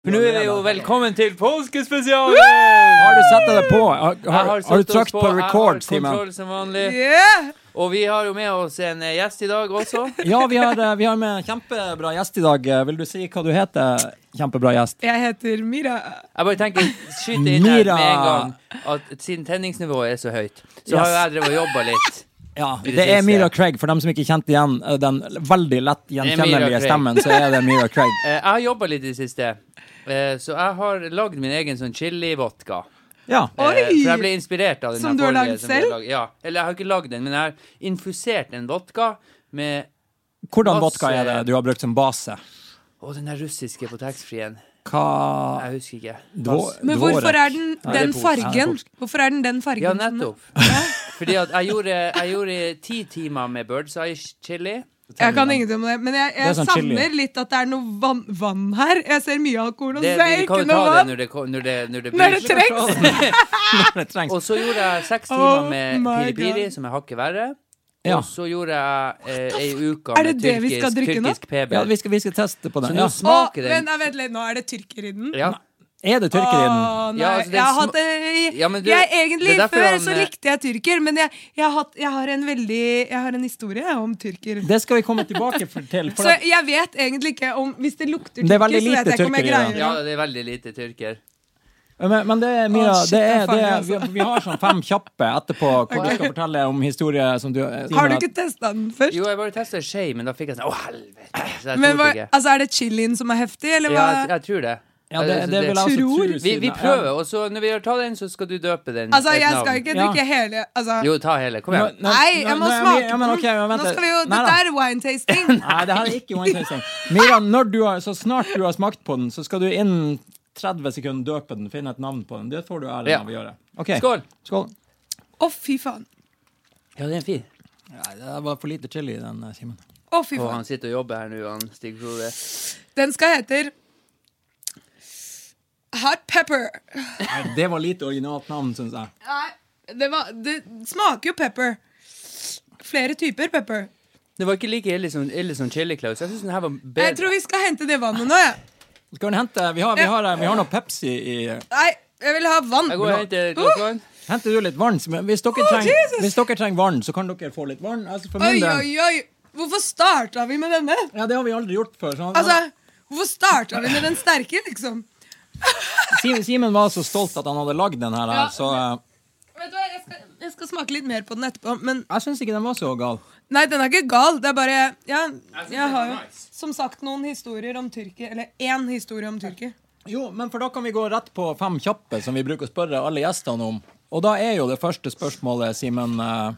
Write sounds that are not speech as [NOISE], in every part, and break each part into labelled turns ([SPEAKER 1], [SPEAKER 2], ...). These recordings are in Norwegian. [SPEAKER 1] For nå er det jo velkommen til påskespesialen!
[SPEAKER 2] Har du satt deg på? Har, har, har, du
[SPEAKER 1] satt oss
[SPEAKER 2] trykt på record,
[SPEAKER 1] Jeg har
[SPEAKER 2] Simen?
[SPEAKER 1] kontroll som vanlig.
[SPEAKER 3] Yeah!
[SPEAKER 1] Og vi har jo med oss en eh, gjest i dag også.
[SPEAKER 2] Ja, vi har, eh, vi har med en kjempebra gjest i dag. Eh, Vil du si hva du heter? Kjempebra gjest.
[SPEAKER 3] Jeg heter Mira.
[SPEAKER 1] Jeg bare tenker, skyt inn her
[SPEAKER 2] Mira.
[SPEAKER 1] med en gang at siden tenningsnivået er så høyt, så har jo jeg drevet og jobba litt.
[SPEAKER 2] Ja,
[SPEAKER 1] I det
[SPEAKER 2] det er
[SPEAKER 1] siste.
[SPEAKER 2] Mira Craig. For dem som ikke kjente igjen eh, den veldig lett
[SPEAKER 1] Mira
[SPEAKER 2] gjenkjennelige
[SPEAKER 1] Craig.
[SPEAKER 2] stemmen, så er det Mira Craig.
[SPEAKER 1] Eh, Jeg har jobba litt i det siste, eh, så jeg har lagd min egen sånn chili-vodka.
[SPEAKER 2] Ja.
[SPEAKER 1] Eh,
[SPEAKER 3] Oi!
[SPEAKER 1] For jeg ble inspirert av den
[SPEAKER 3] Som
[SPEAKER 1] her
[SPEAKER 3] du har
[SPEAKER 1] forrige
[SPEAKER 3] lagd
[SPEAKER 1] som vi har
[SPEAKER 3] selv?
[SPEAKER 1] laget. Ja. Eller jeg har ikke lagd den, men jeg har infusert en vodka med
[SPEAKER 2] Hvordan
[SPEAKER 1] Masse-
[SPEAKER 2] vodka er det du har brukt som base?
[SPEAKER 1] Å, den der russiske på taxfree-en.
[SPEAKER 2] Hva
[SPEAKER 1] Jeg husker ikke.
[SPEAKER 2] Dvå-
[SPEAKER 3] Men hvorfor er den
[SPEAKER 2] Ja, det er
[SPEAKER 3] den
[SPEAKER 2] polsk. Ja, det er
[SPEAKER 3] fargen?
[SPEAKER 2] polsk.
[SPEAKER 3] Hvorfor er den den fargen?
[SPEAKER 1] Ja,
[SPEAKER 3] som den-
[SPEAKER 1] nettopp. Fordi at jeg gjorde, jeg gjorde ti timer med Birds Eye chili.
[SPEAKER 3] Jeg kan ingenting om det, men jeg,
[SPEAKER 2] Det er
[SPEAKER 3] jeg
[SPEAKER 2] sånn chili.
[SPEAKER 3] savner litt at det er noe vann, vann her. Jeg ser mye alkohol, og
[SPEAKER 1] Det,
[SPEAKER 3] så ser
[SPEAKER 1] vi
[SPEAKER 3] jeg
[SPEAKER 1] kan
[SPEAKER 3] ikke
[SPEAKER 1] jo
[SPEAKER 3] noe
[SPEAKER 1] ta det
[SPEAKER 3] vann.
[SPEAKER 1] når det, ko- når det, når det
[SPEAKER 3] Når
[SPEAKER 1] blir
[SPEAKER 3] det
[SPEAKER 1] slik.
[SPEAKER 3] trengs.
[SPEAKER 2] [LAUGHS] det trengs?
[SPEAKER 1] [LAUGHS] Og så gjorde jeg seks timer
[SPEAKER 3] Oh
[SPEAKER 1] med
[SPEAKER 3] my
[SPEAKER 1] piri piri,
[SPEAKER 3] God.
[SPEAKER 1] som er hakket verre.
[SPEAKER 2] Ja.
[SPEAKER 1] Og så gjorde jeg eh, ei uke
[SPEAKER 3] Er det
[SPEAKER 1] med
[SPEAKER 3] det vi skal
[SPEAKER 1] tyrkisk,
[SPEAKER 3] drikke nå?
[SPEAKER 1] tyrkisk PB.
[SPEAKER 2] Ja, vi skal, vi skal teste på
[SPEAKER 1] Så
[SPEAKER 2] den.
[SPEAKER 1] nå
[SPEAKER 2] Ja.
[SPEAKER 3] Å,
[SPEAKER 1] smaker
[SPEAKER 3] vent,
[SPEAKER 1] den
[SPEAKER 3] da, vent litt, nå er det tyrker i den.
[SPEAKER 1] ja.
[SPEAKER 2] Er det tyrker i den?
[SPEAKER 3] Å, nei.
[SPEAKER 1] Ja, altså, den
[SPEAKER 3] jeg har
[SPEAKER 1] sma-
[SPEAKER 3] hatt det
[SPEAKER 1] Ja, men du-
[SPEAKER 3] jeg, Egentlig,
[SPEAKER 1] det er derfor
[SPEAKER 3] før
[SPEAKER 1] han,
[SPEAKER 3] så
[SPEAKER 1] eh,
[SPEAKER 3] likte jeg tyrker, men jeg, jeg, har, hatt- jeg har en veldig Jeg har en historie om tyrker.
[SPEAKER 2] Det skal vi komme tilbake for- til. For
[SPEAKER 3] [LAUGHS] Så
[SPEAKER 2] at,
[SPEAKER 3] jeg vet egentlig ikke om Hvis det lukter
[SPEAKER 2] Det er
[SPEAKER 3] tyrker,
[SPEAKER 2] veldig
[SPEAKER 3] så vet
[SPEAKER 2] lite
[SPEAKER 3] jeg ikke om jeg
[SPEAKER 2] tyrker i den.
[SPEAKER 3] greier
[SPEAKER 1] ja, det er veldig lite tyrker.
[SPEAKER 2] men, men det er Mira,
[SPEAKER 3] Å, shit,
[SPEAKER 2] det
[SPEAKER 3] det er
[SPEAKER 2] er, det er,
[SPEAKER 3] farlig,
[SPEAKER 2] vi,
[SPEAKER 3] altså.
[SPEAKER 2] vi har sånn fem kjappe etterpå hvor du skal fortelle om historier som du Simen,
[SPEAKER 3] Har du
[SPEAKER 2] at-
[SPEAKER 3] ikke testa den først?
[SPEAKER 1] Jo, jeg bare testa skje, men da fikk jeg sånn Å, helvete! Så jeg
[SPEAKER 3] Men
[SPEAKER 1] torde
[SPEAKER 3] hva,
[SPEAKER 1] ikke.
[SPEAKER 3] altså, er det chilien som er heftig, eller
[SPEAKER 1] Ja,
[SPEAKER 3] hva?
[SPEAKER 1] jeg, jeg tror det.
[SPEAKER 2] Ja, det,
[SPEAKER 1] Altså,
[SPEAKER 2] det vil jeg også
[SPEAKER 3] Tror-
[SPEAKER 2] tro.
[SPEAKER 1] vi,
[SPEAKER 2] siden-
[SPEAKER 1] vi prøver, og så når vi har tatt den, så skal du døpe den.
[SPEAKER 3] altså,
[SPEAKER 1] et
[SPEAKER 3] jeg
[SPEAKER 1] navn.
[SPEAKER 3] skal ikke
[SPEAKER 2] Ja.
[SPEAKER 3] drikke hele altså,
[SPEAKER 1] Jo, ta hele. Kom
[SPEAKER 2] Ja.
[SPEAKER 1] igjen.
[SPEAKER 2] Nå- nå-
[SPEAKER 3] Nei, jeg må
[SPEAKER 2] nå- nå-
[SPEAKER 3] smake
[SPEAKER 2] ja, men
[SPEAKER 3] den.
[SPEAKER 2] ok, men vent
[SPEAKER 3] Nå
[SPEAKER 2] litt.
[SPEAKER 3] skal vi jo,
[SPEAKER 2] Nei
[SPEAKER 3] Dette
[SPEAKER 2] da.
[SPEAKER 3] er wine
[SPEAKER 1] [LAUGHS]
[SPEAKER 3] tasting.
[SPEAKER 2] Nei, det her er ikke one tasting. Mira, når du har, så snart du har smakt på den, så skal du innen 30 sekunder døpe den, finne et navn på den. Det får du æren
[SPEAKER 1] Ja.
[SPEAKER 2] av å gjøre. Ok,
[SPEAKER 1] Skål!
[SPEAKER 2] Skål.
[SPEAKER 3] Å, fy faen.
[SPEAKER 1] Ja, den er fin.
[SPEAKER 2] Nei, det var for lite chili i den, eh, Simen.
[SPEAKER 3] Å, fy
[SPEAKER 1] Og
[SPEAKER 3] faen.
[SPEAKER 1] han sitter og jobber her nå, han Stig Frode.
[SPEAKER 3] Den skal hete Hot pepper.
[SPEAKER 2] Det var lite originalt navn, syns jeg.
[SPEAKER 3] Nei, det, var, det smaker jo pepper. Flere typer pepper.
[SPEAKER 1] Det var ikke like ille som, ille som Chili Claus. Jeg syns den her var
[SPEAKER 3] Jeg
[SPEAKER 1] bedre.
[SPEAKER 3] tror vi skal hente det vannet nå, jeg.
[SPEAKER 2] Skal vi hente Vi har, vi har, eh, vi har noe Pepsi i
[SPEAKER 3] Nei, jeg vil ha vann.
[SPEAKER 1] Jeg går og henter et glass vann.
[SPEAKER 2] Henter du litt vann? Simen? Hvis dere trenger, hvis dere trenger vann, så kan dere få litt vann. Altså, for
[SPEAKER 3] Oi,
[SPEAKER 2] min del
[SPEAKER 3] oi, oi. Hvorfor starta vi med denne?
[SPEAKER 2] Ja, det har vi aldri gjort før. Sånn.
[SPEAKER 3] Altså, hvorfor starta vi med den sterke, liksom?
[SPEAKER 2] Sim- Simen var så stolt at han hadde lagd den her,
[SPEAKER 3] Ja.
[SPEAKER 2] så eh,
[SPEAKER 3] Vet du hva, jeg skal, jeg skal smake litt mer på den etterpå. Men
[SPEAKER 2] jeg syns ikke den var så gal.
[SPEAKER 3] nei, den er ikke gal. Det er bare Ja, jeg har jo som sagt noen historier om Tyrkia. Eller én historie om Tyrkia.
[SPEAKER 2] Jo, men for da kan vi gå rett på fem kjappe, som vi bruker å spørre alle gjestene om. Og da er jo det første spørsmålet, Simen eh,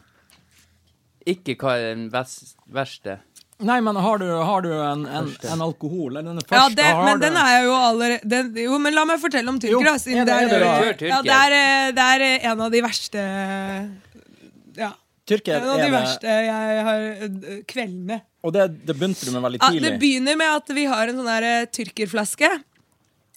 [SPEAKER 1] Ikke hva er den best, verste.
[SPEAKER 2] Nei, men har du, har du en, en, en alkohol? Eller den første?
[SPEAKER 3] Ja, det,
[SPEAKER 2] har
[SPEAKER 3] men
[SPEAKER 2] du-
[SPEAKER 3] den er jeg jo allerede den, Jo, men la meg fortelle om
[SPEAKER 2] Jo,
[SPEAKER 3] Tyrkia, da,
[SPEAKER 2] er
[SPEAKER 3] siden
[SPEAKER 2] det-
[SPEAKER 3] det
[SPEAKER 2] er det
[SPEAKER 3] er
[SPEAKER 2] da?
[SPEAKER 1] Kjør Tyrkia.
[SPEAKER 3] Ja, det er, eh, det er eh, en av de verste Ja.
[SPEAKER 2] Tyrker
[SPEAKER 3] En av de
[SPEAKER 2] er det,
[SPEAKER 3] verste jeg har eh, kveldene.
[SPEAKER 2] og det, det begynte du med veldig
[SPEAKER 3] Ja,
[SPEAKER 2] tidlig.
[SPEAKER 3] det begynner med at vi har en sånn her eh, tyrkerflaske.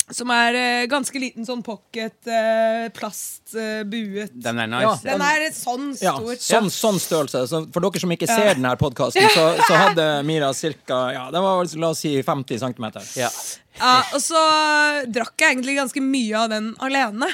[SPEAKER 3] Som er eh, ganske liten sånn pocket, eh, plast, eh, buet.
[SPEAKER 1] Den er
[SPEAKER 2] Ja.
[SPEAKER 1] nice.
[SPEAKER 3] Den er sånn
[SPEAKER 2] ja,
[SPEAKER 3] stor.
[SPEAKER 2] sånn, sånn størrelse. Så for dere som ikke ser denne podkasten, så, så hadde Mira ca. Ja, det var, la oss si 50 cm.
[SPEAKER 1] Ja.
[SPEAKER 3] Ja, og så drakk jeg egentlig ganske mye av den alene.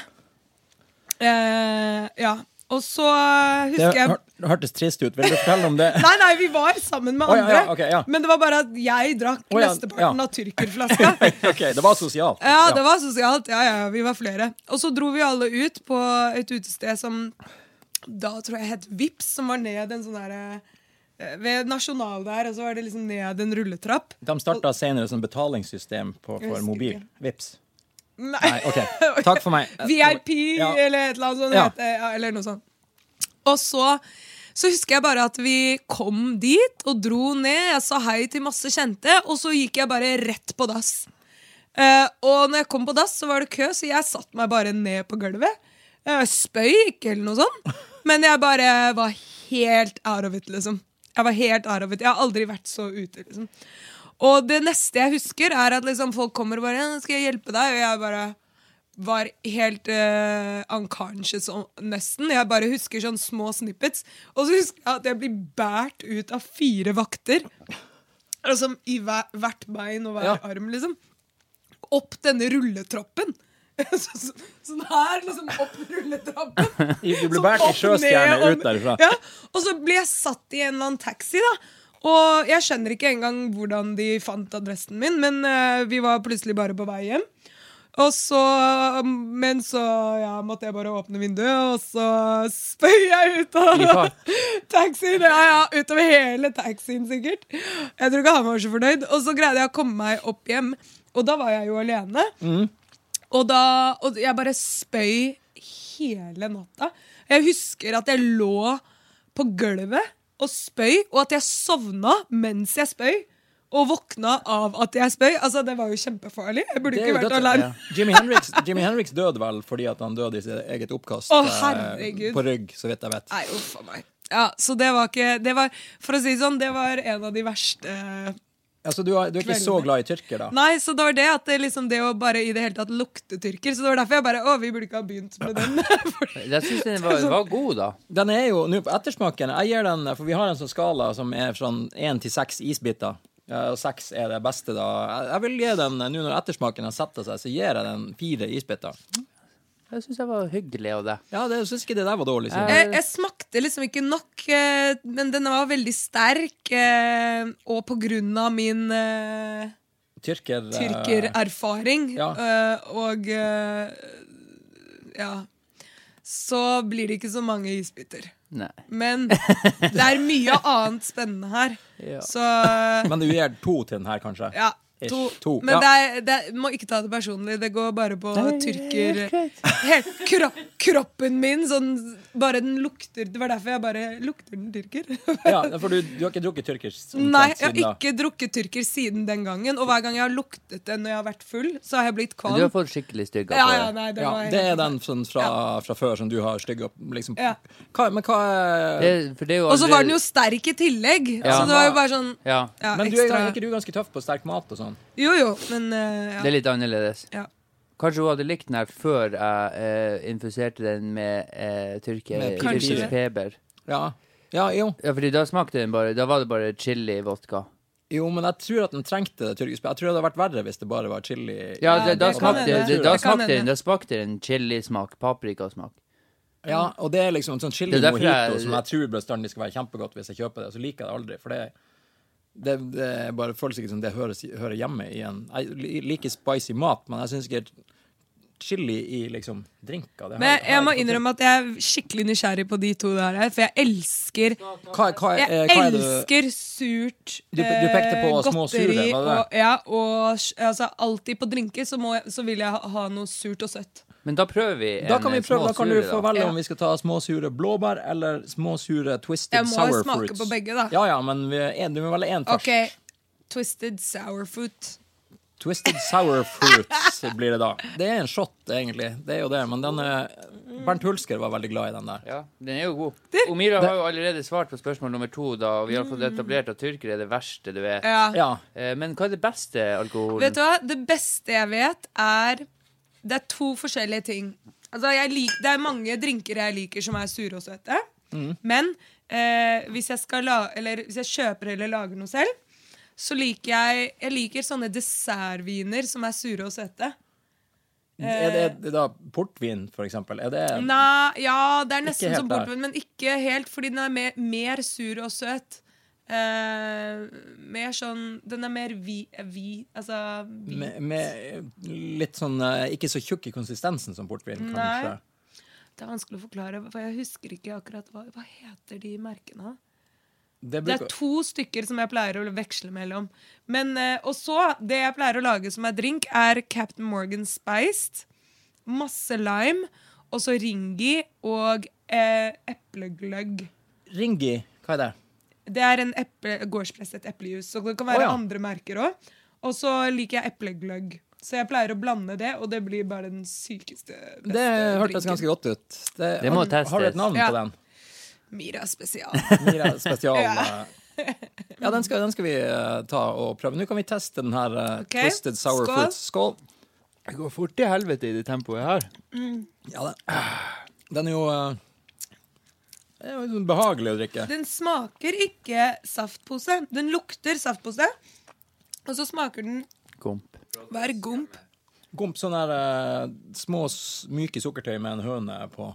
[SPEAKER 3] Eh, ja. Og så
[SPEAKER 2] Det
[SPEAKER 3] husker jeg
[SPEAKER 2] hør, hørtes trist ut. Vil du fortelle om det?
[SPEAKER 3] Nei, nei, vi var sammen med
[SPEAKER 2] Å, ja,
[SPEAKER 3] andre.
[SPEAKER 2] ja, ok, ja.
[SPEAKER 3] Men det var bare at jeg drakk
[SPEAKER 2] Å, ja,
[SPEAKER 3] mesteparten
[SPEAKER 2] [LAUGHS] ja.
[SPEAKER 3] av tyrkerflaska.
[SPEAKER 2] OK, det var sosialt.
[SPEAKER 3] Ja, det var sosialt. Ja, ja, vi var flere. Og så dro vi alle ut på et utested som da tror jeg het Vips, som var ned en sånn derre Ved Nasjonal der, og så var det liksom ned en rulletrapp.
[SPEAKER 2] De starta senere som betalingssystem på,
[SPEAKER 3] Jeg
[SPEAKER 2] for
[SPEAKER 3] husker
[SPEAKER 2] mobil.
[SPEAKER 3] ikke.
[SPEAKER 2] Vips.
[SPEAKER 3] Nei,
[SPEAKER 2] Nei,
[SPEAKER 3] [LAUGHS]
[SPEAKER 2] OK. Takk for meg.
[SPEAKER 3] VIP
[SPEAKER 2] Ja.
[SPEAKER 3] eller et eller annet sånt.
[SPEAKER 2] Ja.
[SPEAKER 3] heter- Ja, eller noe sånt. Og så, så husker jeg bare at vi kom dit og dro ned. Jeg sa hei til masse kjente, og så gikk jeg bare rett på dass. Eh, og når jeg kom på dass, så var det kø, så jeg satte meg bare ned på gulvet. Jeg spøy ikke eller noe sånt, men jeg bare var helt out of it, liksom. Jeg var helt out of it. Jeg har aldri vært så ute, liksom. Og det neste jeg husker, er at liksom folk kommer og bare «Ja, 'Skal jeg hjelpe deg?' Og jeg bare var helt eh, unconscious og- nesten. Jeg bare husker sånn små snippets. Og så husker jeg at jeg blir båret ut av fire vakter. Altså i hver, hvert bein og hver
[SPEAKER 2] Ja.
[SPEAKER 3] arm, liksom. opp denne rulletroppen. [LAUGHS] Så- så- Sånn her, liksom opp rulletrappen.
[SPEAKER 2] Du ble
[SPEAKER 3] Sånn
[SPEAKER 2] båret i
[SPEAKER 3] opp, ned,
[SPEAKER 2] sjøstjerne
[SPEAKER 3] om-
[SPEAKER 2] ut derfra.
[SPEAKER 3] Ja, og så ble jeg satt i en eller annen taxi, da. Og jeg skjønner ikke engang hvordan de fant adressen min, men eh, vi var plutselig bare på vei hjem. Og så, men så ja, måtte jeg bare åpne vinduet, og så spøy jeg ut
[SPEAKER 1] I
[SPEAKER 3] av
[SPEAKER 1] fart.
[SPEAKER 3] taxien. Ja, ja, utover hele taxien, sikkert. Jeg tror ikke han var så fornøyd. Og så greide jeg å komme meg opp hjem, og da var jeg jo alene. Og, da, og jeg bare spøy hele natta. Jeg husker at jeg lå på gulvet og spøy, og at jeg sovna mens jeg spøy. Og våkna av at jeg spøy. Altså, Det var jo kjempefarlig. Jeg burde
[SPEAKER 2] Det er
[SPEAKER 3] ikke
[SPEAKER 2] jo
[SPEAKER 3] vært
[SPEAKER 2] dødsfall,
[SPEAKER 3] alene.
[SPEAKER 1] ja.
[SPEAKER 2] Jimi Hendrix, Jimi Hendrix døde vel fordi at han døde i sitt eget oppkast
[SPEAKER 3] Å,
[SPEAKER 2] eh,
[SPEAKER 3] herregud.
[SPEAKER 2] på rygg, så vidt jeg vet.
[SPEAKER 3] Nei, uff a meg. Ja, så det var ikke det var, For å si det sånn, det var en av de verste
[SPEAKER 2] Altså, du, har, du er ikke så glad i tyrker, da?
[SPEAKER 3] Nei, så det var det at det, liksom, det å bare i det hele tatt lukte tyrker Så det var derfor jeg bare Å, vi burde ikke ha begynt med den. [LAUGHS] For-
[SPEAKER 1] Jeg syns den var, var god, da.
[SPEAKER 2] Den er jo nå på ettersmaken. Jeg gir den, for vi har en sånn skala som er fra én til seks isbiter. Ja, Og seks er det beste, da. Jeg- Jeg vil gi den, Nå når ettersmaken har setter seg, så gir jeg den fire isbiter.
[SPEAKER 1] Jeg syns jeg var hyggelig av deg.
[SPEAKER 2] Ja, det- jeg syns ikke det der var dårlig. Simen.
[SPEAKER 3] jeg, jeg smakte liksom ikke nok, eh, men den var veldig sterk. eh, Og på grunn av min eh,
[SPEAKER 2] Tyrker eh,
[SPEAKER 3] tyrkererfaring
[SPEAKER 2] ja.
[SPEAKER 3] eh, og eh, ja Så blir det ikke så mange isbiter.
[SPEAKER 1] Nei.
[SPEAKER 3] Men det er mye annet spennende
[SPEAKER 2] [LAUGHS]
[SPEAKER 3] her.
[SPEAKER 1] Ja.
[SPEAKER 3] Så
[SPEAKER 2] Men du gir to til den her, kanskje?
[SPEAKER 3] ja.
[SPEAKER 2] Ish.
[SPEAKER 3] To.
[SPEAKER 2] To, ja.
[SPEAKER 3] Men det er, det er, må ikke ta det personlig. Det går bare på tyrker
[SPEAKER 1] helt greit.
[SPEAKER 3] Helt kropp, Kroppen min sånn Bare den lukter Det var derfor jeg bare Lukter den
[SPEAKER 1] [LAUGHS]
[SPEAKER 3] tyrker?
[SPEAKER 2] [LAUGHS] Ja, for du, du har ikke drukket tyrkisk omtrent
[SPEAKER 3] Nei, jeg har
[SPEAKER 2] siden da?
[SPEAKER 3] ikke drukket tyrker siden den gangen. Og hver gang jeg har luktet den når jeg har vært full, så har jeg blitt
[SPEAKER 1] Men
[SPEAKER 3] kvalm.
[SPEAKER 1] Du har fått skikkelig stygga
[SPEAKER 3] Ja,
[SPEAKER 1] på
[SPEAKER 3] ja,
[SPEAKER 1] det.
[SPEAKER 3] nei, det,
[SPEAKER 2] Ja,
[SPEAKER 3] var,
[SPEAKER 2] det er den sånn fra, fra før som du har stygg opp liksom.
[SPEAKER 3] Ja.
[SPEAKER 2] hva, Men hva er
[SPEAKER 1] det. For det er jo
[SPEAKER 3] Og så var
[SPEAKER 1] aldri-
[SPEAKER 3] den jo sterk i tillegg,
[SPEAKER 1] Ja.
[SPEAKER 3] så det var jo bare sånn
[SPEAKER 1] Ja.
[SPEAKER 3] ja,
[SPEAKER 2] Men du er,
[SPEAKER 3] ekstra.
[SPEAKER 2] er ikke du ganske tøff på sterk mat og sånn?
[SPEAKER 3] Jo, jo, men eh,
[SPEAKER 1] Det er litt annerledes.
[SPEAKER 3] ja. ja.
[SPEAKER 1] Kanskje hun hadde likt den her før jeg eh, infuserte den med eh, tyrker-
[SPEAKER 2] Med
[SPEAKER 3] Kanskje
[SPEAKER 1] tyrkisk
[SPEAKER 3] det.
[SPEAKER 1] feber.
[SPEAKER 2] Ja. ja, jo.
[SPEAKER 1] Ja, fordi da smakte den bare Da var det bare chili-vodka.
[SPEAKER 2] Jo, men jeg tror at den trengte det tyrkisk. Jeg tror det hadde vært verre hvis det bare var chili.
[SPEAKER 1] Ja,
[SPEAKER 3] Ja,
[SPEAKER 1] det, da
[SPEAKER 2] det kan
[SPEAKER 1] smakte
[SPEAKER 2] hende.
[SPEAKER 1] det, da
[SPEAKER 3] Det kan
[SPEAKER 1] smakte den
[SPEAKER 3] hende.
[SPEAKER 1] Da smakte den chilismak, paprikasmak.
[SPEAKER 2] Ja, og det er liksom sånn chili
[SPEAKER 1] Det er derfor
[SPEAKER 2] mojito
[SPEAKER 1] jeg-
[SPEAKER 2] som jeg tror bestandig skal være kjempegodt hvis jeg kjøper det. Så liker jeg det aldri, for det, det, det er bare føles ikke som det høres, hører hjemme i en Jeg li- liker spicy mat, men jeg syns ikke chili i liksom drinker det har-
[SPEAKER 3] Men jeg,
[SPEAKER 2] har ikke
[SPEAKER 3] jeg må
[SPEAKER 2] fått til.
[SPEAKER 3] innrømme at jeg er skikkelig nysgjerrig på de to der, her, for jeg elsker
[SPEAKER 2] hva, hva,
[SPEAKER 3] jeg
[SPEAKER 2] eh, hva er det du-
[SPEAKER 3] elsker surt
[SPEAKER 2] Du- du pekte på
[SPEAKER 3] eh,
[SPEAKER 2] små sure,
[SPEAKER 3] godteri
[SPEAKER 2] var det det?
[SPEAKER 3] Og, ja, og s- altså, alltid på drinker så, må jeg, så vil jeg ha, ha noe surt og søtt.
[SPEAKER 1] Men da prøver vi en
[SPEAKER 2] Da kan, vi
[SPEAKER 1] eh,
[SPEAKER 2] prøve, da kan du
[SPEAKER 1] småsure,
[SPEAKER 2] få
[SPEAKER 1] da.
[SPEAKER 2] velge
[SPEAKER 3] Ja.
[SPEAKER 2] om vi skal ta småsure blåbær eller småsure twisted
[SPEAKER 3] Jeg må
[SPEAKER 2] sour
[SPEAKER 3] smake
[SPEAKER 2] fruits.
[SPEAKER 3] på begge, da.
[SPEAKER 2] Ja, ja, men vi er en, du må velge én først.
[SPEAKER 3] Ok, Twisted sour fruit.
[SPEAKER 2] Twisted sour fruits blir det da. Det er en shot, egentlig. Det er jo det, men den er Bernt Hulsker var veldig glad i den der.
[SPEAKER 1] Ja, den er jo god. Og Mira har jo allerede svart på spørsmål nummer to, da, og vi har fått etablert at tyrkere er det verste du er.
[SPEAKER 3] Ja.
[SPEAKER 2] Mm. Ja.
[SPEAKER 1] Eh, Men hva er det beste alkoholen?
[SPEAKER 3] Vet du hva? Det beste jeg vet, er Det er to forskjellige ting. Altså, jeg lik, det er mange drinker jeg liker som er sure og søte.
[SPEAKER 2] Mm.
[SPEAKER 3] Men eh, hvis, jeg skal la, eller, hvis jeg kjøper eller lager noe selv, så liker jeg Jeg liker sånne dessertviner som er sure og søte.
[SPEAKER 2] Er det, er det da portvin, for eksempel? Er det
[SPEAKER 3] Nei, ja, det er nesten
[SPEAKER 2] helt
[SPEAKER 3] som
[SPEAKER 2] der.
[SPEAKER 3] bortvin, men ikke helt, fordi den er mer, mer sur og søt. Eh, mer sånn Den er mer vi... vi altså vi.
[SPEAKER 2] med, med litt sånn eh, Ikke så tjukk i konsistensen som portvin,
[SPEAKER 3] Nei.
[SPEAKER 2] kanskje?
[SPEAKER 3] Det er vanskelig å forklare, for jeg husker ikke akkurat hva, hva heter de merkene.
[SPEAKER 2] Det
[SPEAKER 3] Det er
[SPEAKER 2] bruker-
[SPEAKER 3] to stykker som jeg pleier å veksle mellom. Men, eh, og så, det jeg pleier å lage som er drink, er Captain Morgan Spiced, masse lime, og så Ringi og eh, eplegløgg.
[SPEAKER 2] Ringi, hva er det?
[SPEAKER 3] Det er en eple, gårdspresset eplejus, så det kan være
[SPEAKER 2] Å, ja.
[SPEAKER 3] andre merker òg. Og så liker jeg eplegløgg. Så jeg pleier å blande det, og det blir bare den sykeste beste
[SPEAKER 2] Det hørtes
[SPEAKER 3] drinken.
[SPEAKER 2] ganske godt ut.
[SPEAKER 1] Det må
[SPEAKER 2] har, du- Har du
[SPEAKER 1] testes.
[SPEAKER 2] et navn
[SPEAKER 3] Ja.
[SPEAKER 2] på den?
[SPEAKER 3] Mira spesial.
[SPEAKER 2] Mira spesial.
[SPEAKER 3] Ja.
[SPEAKER 2] eh, Ja, den skal, den skal vi eh, ta og prøve. Nå kan vi teste den her eh,
[SPEAKER 3] Ok,
[SPEAKER 2] Twisted Sour
[SPEAKER 3] skål.
[SPEAKER 2] Fruits. Skål.
[SPEAKER 1] Det går fort til helvete i det tempoet her.
[SPEAKER 2] Ja, den, den er jo eh, det er jo sånn behagelig å drikke.
[SPEAKER 3] [LAUGHS] Den smaker ikke saftpose. Den lukter saftpose, og så smaker den
[SPEAKER 1] Komp.
[SPEAKER 3] hver gump.
[SPEAKER 2] Gomp sånne her, eh, små, s- myke sukkertøy med en høne på.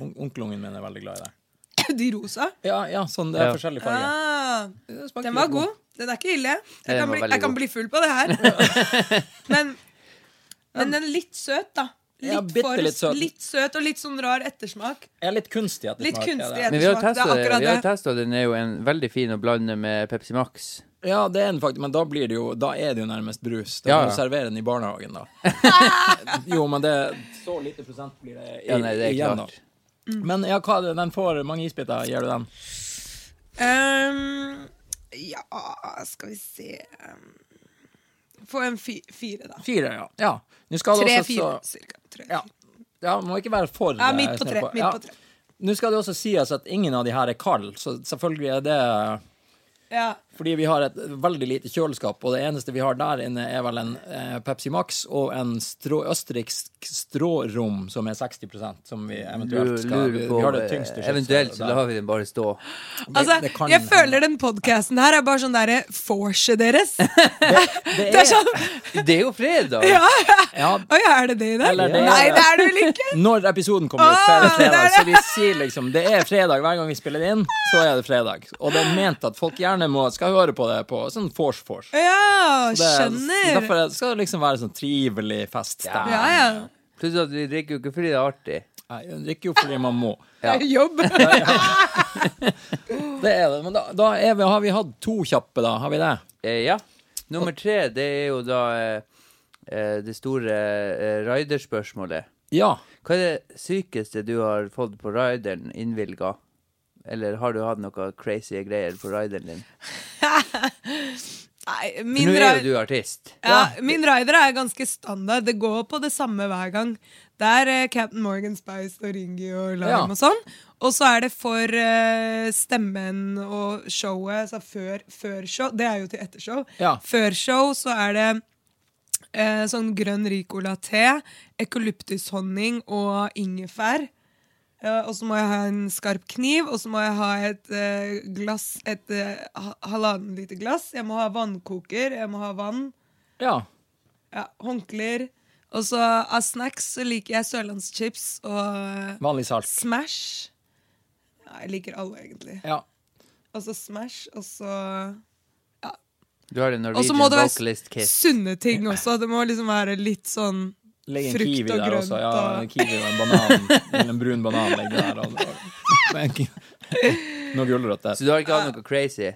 [SPEAKER 2] On Onkelungen min er veldig glad i det.
[SPEAKER 3] [COUGHS] De rosa.
[SPEAKER 2] Ja, ja sånn, det er
[SPEAKER 1] Ja.
[SPEAKER 2] forskjellige farger.
[SPEAKER 3] Ah,
[SPEAKER 2] Det smaker
[SPEAKER 3] den var
[SPEAKER 2] litt
[SPEAKER 3] god. Den er ikke ille.
[SPEAKER 1] den
[SPEAKER 3] Jeg kan
[SPEAKER 1] var
[SPEAKER 3] bli,
[SPEAKER 1] veldig
[SPEAKER 3] jeg kan
[SPEAKER 1] god.
[SPEAKER 3] bli full på det her.
[SPEAKER 2] [LAUGHS]
[SPEAKER 3] Men, men den er litt søt, da. Litt,
[SPEAKER 2] Ja, bitte
[SPEAKER 3] for,
[SPEAKER 2] litt søt.
[SPEAKER 3] litt søt og litt sånn rar ettersmak.
[SPEAKER 2] Jeg er litt kunstig etter
[SPEAKER 3] Litt
[SPEAKER 2] smak, er det.
[SPEAKER 3] kunstig.
[SPEAKER 1] Men vi har
[SPEAKER 3] Smak, det er
[SPEAKER 1] testa det.
[SPEAKER 3] akkurat
[SPEAKER 1] Vi har
[SPEAKER 3] det.
[SPEAKER 1] testet, den er jo en veldig fin å blande med Pepsi Max.
[SPEAKER 2] Ja, det er den faktisk, men da blir det jo Da er det jo nærmest brus. Da
[SPEAKER 1] Ja,
[SPEAKER 2] må
[SPEAKER 1] ja.
[SPEAKER 2] du servere den i barnehagen,
[SPEAKER 3] [LAUGHS]
[SPEAKER 2] da. jo, men det Så lite prosent blir det, i,
[SPEAKER 1] Ja, nei, det er
[SPEAKER 2] igjen,
[SPEAKER 1] klart.
[SPEAKER 2] da. Men ja, hva er det, den får mange isbiter, gir du den?
[SPEAKER 3] Ehm, ja, skal vi se ehm, Få en fi, fire, da.
[SPEAKER 2] Fire, ja. ja. Nå skal det også-
[SPEAKER 3] Tre-fire, cirka. Tre.
[SPEAKER 2] Ja. ja, må ikke være for
[SPEAKER 3] Ja, midt på
[SPEAKER 2] eh,
[SPEAKER 3] tre,
[SPEAKER 2] snurpa.
[SPEAKER 3] midt
[SPEAKER 2] Ja.
[SPEAKER 3] på tre.
[SPEAKER 2] Nå skal det også sies at ingen av de her er kald, så selvfølgelig er det
[SPEAKER 3] Ja.
[SPEAKER 2] fordi vi har et veldig lite kjøleskap, og det eneste vi har der inne, er vel en eh, Pepsi Max og en strå, østerriksk strårom som er 60 som vi eventuelt skal
[SPEAKER 1] Lurer
[SPEAKER 2] Vi,
[SPEAKER 1] på
[SPEAKER 2] vi har det tyngste kjøleskapet
[SPEAKER 1] Eventuelt så
[SPEAKER 2] der.
[SPEAKER 1] lar vi den bare stå.
[SPEAKER 2] Det-
[SPEAKER 3] Altså,
[SPEAKER 2] det kan
[SPEAKER 3] jeg
[SPEAKER 2] hende.
[SPEAKER 3] føler den podkasten her er bare sånn derre
[SPEAKER 2] [LAUGHS]
[SPEAKER 3] vorset deres.
[SPEAKER 2] det
[SPEAKER 3] Det er
[SPEAKER 2] er,
[SPEAKER 3] sånn
[SPEAKER 1] Det er jo fredag!
[SPEAKER 3] [LAUGHS] Ja!
[SPEAKER 2] ja,
[SPEAKER 3] Oi, er det det i dag?
[SPEAKER 2] Eller det-
[SPEAKER 3] Nei, det er det vel ikke?
[SPEAKER 2] Når episoden kommer ut, så er det
[SPEAKER 3] Ah,
[SPEAKER 2] fredag.
[SPEAKER 3] det er
[SPEAKER 2] Så vi sier liksom det er fredag hver gang vi spiller inn, så er det fredag. Og det er ment at folk gjerne må, skal høre på det på sånn vors-vors.
[SPEAKER 3] Ja,
[SPEAKER 2] [LAUGHS] Det er-
[SPEAKER 3] skjønner.
[SPEAKER 2] Derfor er- skal det liksom være sånn trivelig feststemning.
[SPEAKER 3] Ja, ja.
[SPEAKER 1] Pluss at vi drikker jo ikke fordi det er artig.
[SPEAKER 2] Nei, jeg drikker jo fordi man må.
[SPEAKER 3] Det er [LAUGHS]
[SPEAKER 2] [LAUGHS]
[SPEAKER 3] jobb.
[SPEAKER 2] Det er det. Men da, da er vi, har vi hatt to kjappe, da. Har vi det?
[SPEAKER 1] Eh, ja. Nummer tre, det er jo da eh, eh, det store eh, riderspørsmålet.
[SPEAKER 2] Ja.
[SPEAKER 1] Hva er det sykeste du har fått på rideren innvilga? Eller har du hatt noe crazy greier på rideren din?
[SPEAKER 3] Nei,
[SPEAKER 1] For
[SPEAKER 3] min,
[SPEAKER 1] nå er
[SPEAKER 3] ri-
[SPEAKER 1] jo du artist.
[SPEAKER 3] ja, min rider er ganske standard. Det går på det samme hver gang. Det er eh, Captain Morgan Spice og Ringy og
[SPEAKER 2] Ja.
[SPEAKER 3] Lime og sånn. Og så er det for eh, stemmen og showet. Så før, før show Det er jo til ettershow.
[SPEAKER 2] Ja.
[SPEAKER 3] Før show så er det eh, sånn grønn ricola-te, ekulyptushonning og ingefær. Eh, og så må jeg ha en skarp kniv, og så må jeg ha et eh, glass, et eh, ha- halvannen liter glass. Jeg må ha vannkoker, jeg må ha vann,
[SPEAKER 2] ja.
[SPEAKER 3] ja, håndklær. Og så av snacks så liker jeg sørlandschips og
[SPEAKER 2] Vanlig salt.
[SPEAKER 3] Smash. Ja, jeg liker alle, egentlig.
[SPEAKER 2] Ja.
[SPEAKER 3] Og så Smash, og så
[SPEAKER 1] Du har en
[SPEAKER 3] Og så
[SPEAKER 1] Norwegian
[SPEAKER 3] må det være
[SPEAKER 1] vocalist kiss.
[SPEAKER 3] sunne ting også. Det må liksom være litt sånn
[SPEAKER 2] Legg en
[SPEAKER 3] Frukt
[SPEAKER 2] kiwi
[SPEAKER 3] og
[SPEAKER 2] der
[SPEAKER 3] grønt
[SPEAKER 2] også. Ja,
[SPEAKER 3] og-
[SPEAKER 2] en kiwi og en banan. Eller en brun banan legger der. Og, og, men- noe gulrøtter.
[SPEAKER 1] Så du har ikke hatt noe crazy?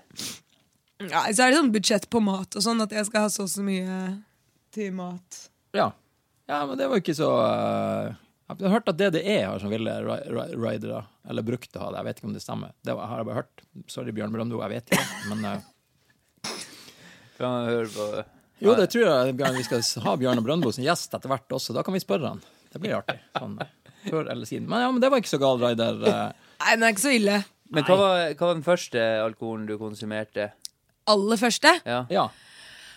[SPEAKER 3] Ja, så er det sånn budsjett på mat og sånn, at jeg skal ha så og så mye til mat.
[SPEAKER 2] Ja. ja, men det var jo ikke så eh, Jeg har hørt at DDE har sånn ville ri- ri- ridere, eller brukte å ha det. Jeg vet ikke om det stemmer. Det var, har jeg bare hørt. Sorry, Bjørn Brøndbo, jeg vet ikke. Men eh,
[SPEAKER 1] Kan man høre på
[SPEAKER 2] jo, det tror jeg Bjørn, vi skal ha Bjørn Brøndbo som gjest etter hvert også. Da kan vi spørre han. Det blir artig. Sånn, før eller siden. Men ja, men det var ikke så gal rider. eh.
[SPEAKER 3] Nei, den er ikke så ille.
[SPEAKER 1] Men hva var, hva var den første alkoholen du konsumerte?
[SPEAKER 3] Aller første.
[SPEAKER 1] Ja,
[SPEAKER 2] Ja.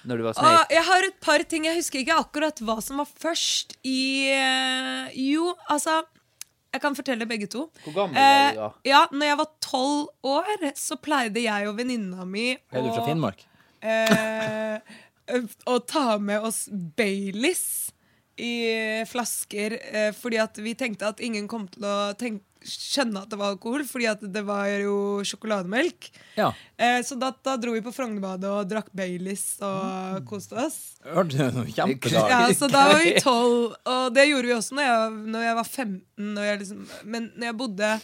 [SPEAKER 1] Når du var
[SPEAKER 3] Ah,
[SPEAKER 1] sneip?
[SPEAKER 3] jeg har et par ting. Jeg husker ikke akkurat hva som var først i eh, Jo, altså Jeg kan fortelle begge to.
[SPEAKER 1] Hvor gammel er du da?
[SPEAKER 3] Eh, ja, når jeg var tolv år, så pleide jeg og venninna mi
[SPEAKER 2] Er du fra
[SPEAKER 3] å-
[SPEAKER 2] Finnmark?
[SPEAKER 3] eh, å ta med oss Baileys i flasker, eh, fordi at vi tenkte at ingen kom til å tenk- skjønne at det var alkohol, fordi at det var jo sjokolademelk.
[SPEAKER 2] Ja.
[SPEAKER 3] Eh, så da, da dro vi på Frognerbadet og drakk Baileys
[SPEAKER 1] Mm.
[SPEAKER 3] og koste oss.
[SPEAKER 2] Hørte du noe kjempedag?
[SPEAKER 3] Ja, så da var vi tolv, og det gjorde vi også når jeg, når jeg var 15. Når jeg liksom, men når jeg bodde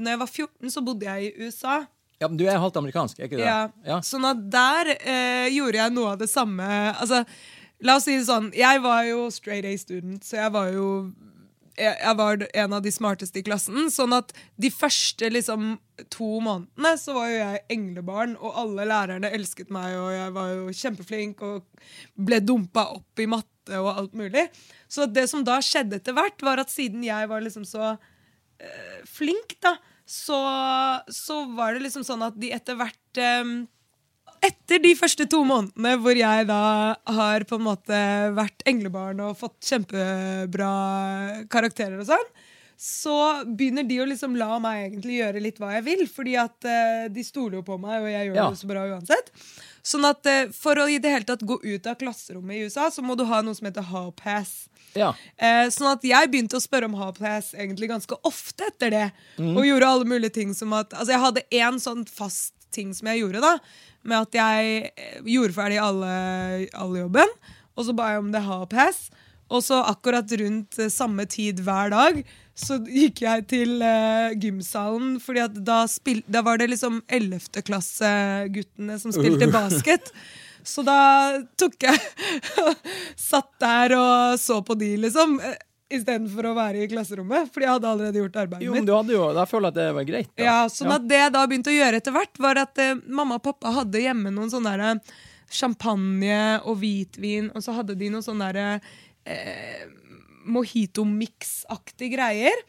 [SPEAKER 3] Når jeg var 14, så bodde jeg i USA.
[SPEAKER 2] [LAUGHS] Ja, men du er halvt amerikansk, er ikke du det?
[SPEAKER 3] Ja.
[SPEAKER 2] Ja.
[SPEAKER 3] Sånn at der eh, gjorde jeg noe av det samme. Altså, la oss si det sånn, jeg var jo straight A student, så jeg var jo jeg, jeg var en av de smarteste i klassen. Sånn at de første liksom, to månedene så var jo jeg englebarn, og alle lærerne elsket meg, og jeg var jo kjempeflink og ble dumpa opp i matte og alt mulig. Så det som da skjedde etter hvert, var at siden jeg var liksom så flink, da, så, så var det liksom sånn at de etter hvert em, Etter de første to månedene hvor jeg da har på en måte vært englebarn og fått kjempebra karakterer og sånn, så begynner de å liksom la meg egentlig gjøre litt hva jeg vil, fordi at eh, de stoler jo på meg, og jeg gjør
[SPEAKER 2] Ja.
[SPEAKER 3] det jo så bra uansett. Sånn at eh, For å i det hele tatt gå ut av klasserommet i USA, så må du ha noe som heter H-pass.
[SPEAKER 2] Ja.
[SPEAKER 3] Eh, sånn at jeg begynte å spørre om H-pass egentlig ganske ofte etter det. Og gjorde alle mulige ting som at Altså jeg hadde én sånn fast ting som jeg gjorde, da. Med at jeg eh, gjorde ferdig alle, alle jobben, og så ba jeg om det H-pass. Og så akkurat rundt eh, samme tid hver dag så gikk jeg til eh, gymsalen, fordi at da, spil da var det liksom 11.klasseguttene som spilte basket. Så da tok jeg [LAUGHS] Satt der og så på de, liksom. eh, Istedenfor å være i klasserommet, fordi jeg hadde allerede gjort arbeidet
[SPEAKER 2] Jo,
[SPEAKER 3] mitt.
[SPEAKER 2] men du hadde jo Da føler jeg at det var greit. Da.
[SPEAKER 3] Ja, sånn at det jeg da begynte å gjøre etter hvert, var at eh, mamma og pappa hadde hjemme noen sånne der, eh, champagne og hvitvin, og så hadde de noen sånne der, eh, mojito-mix-aktige greier.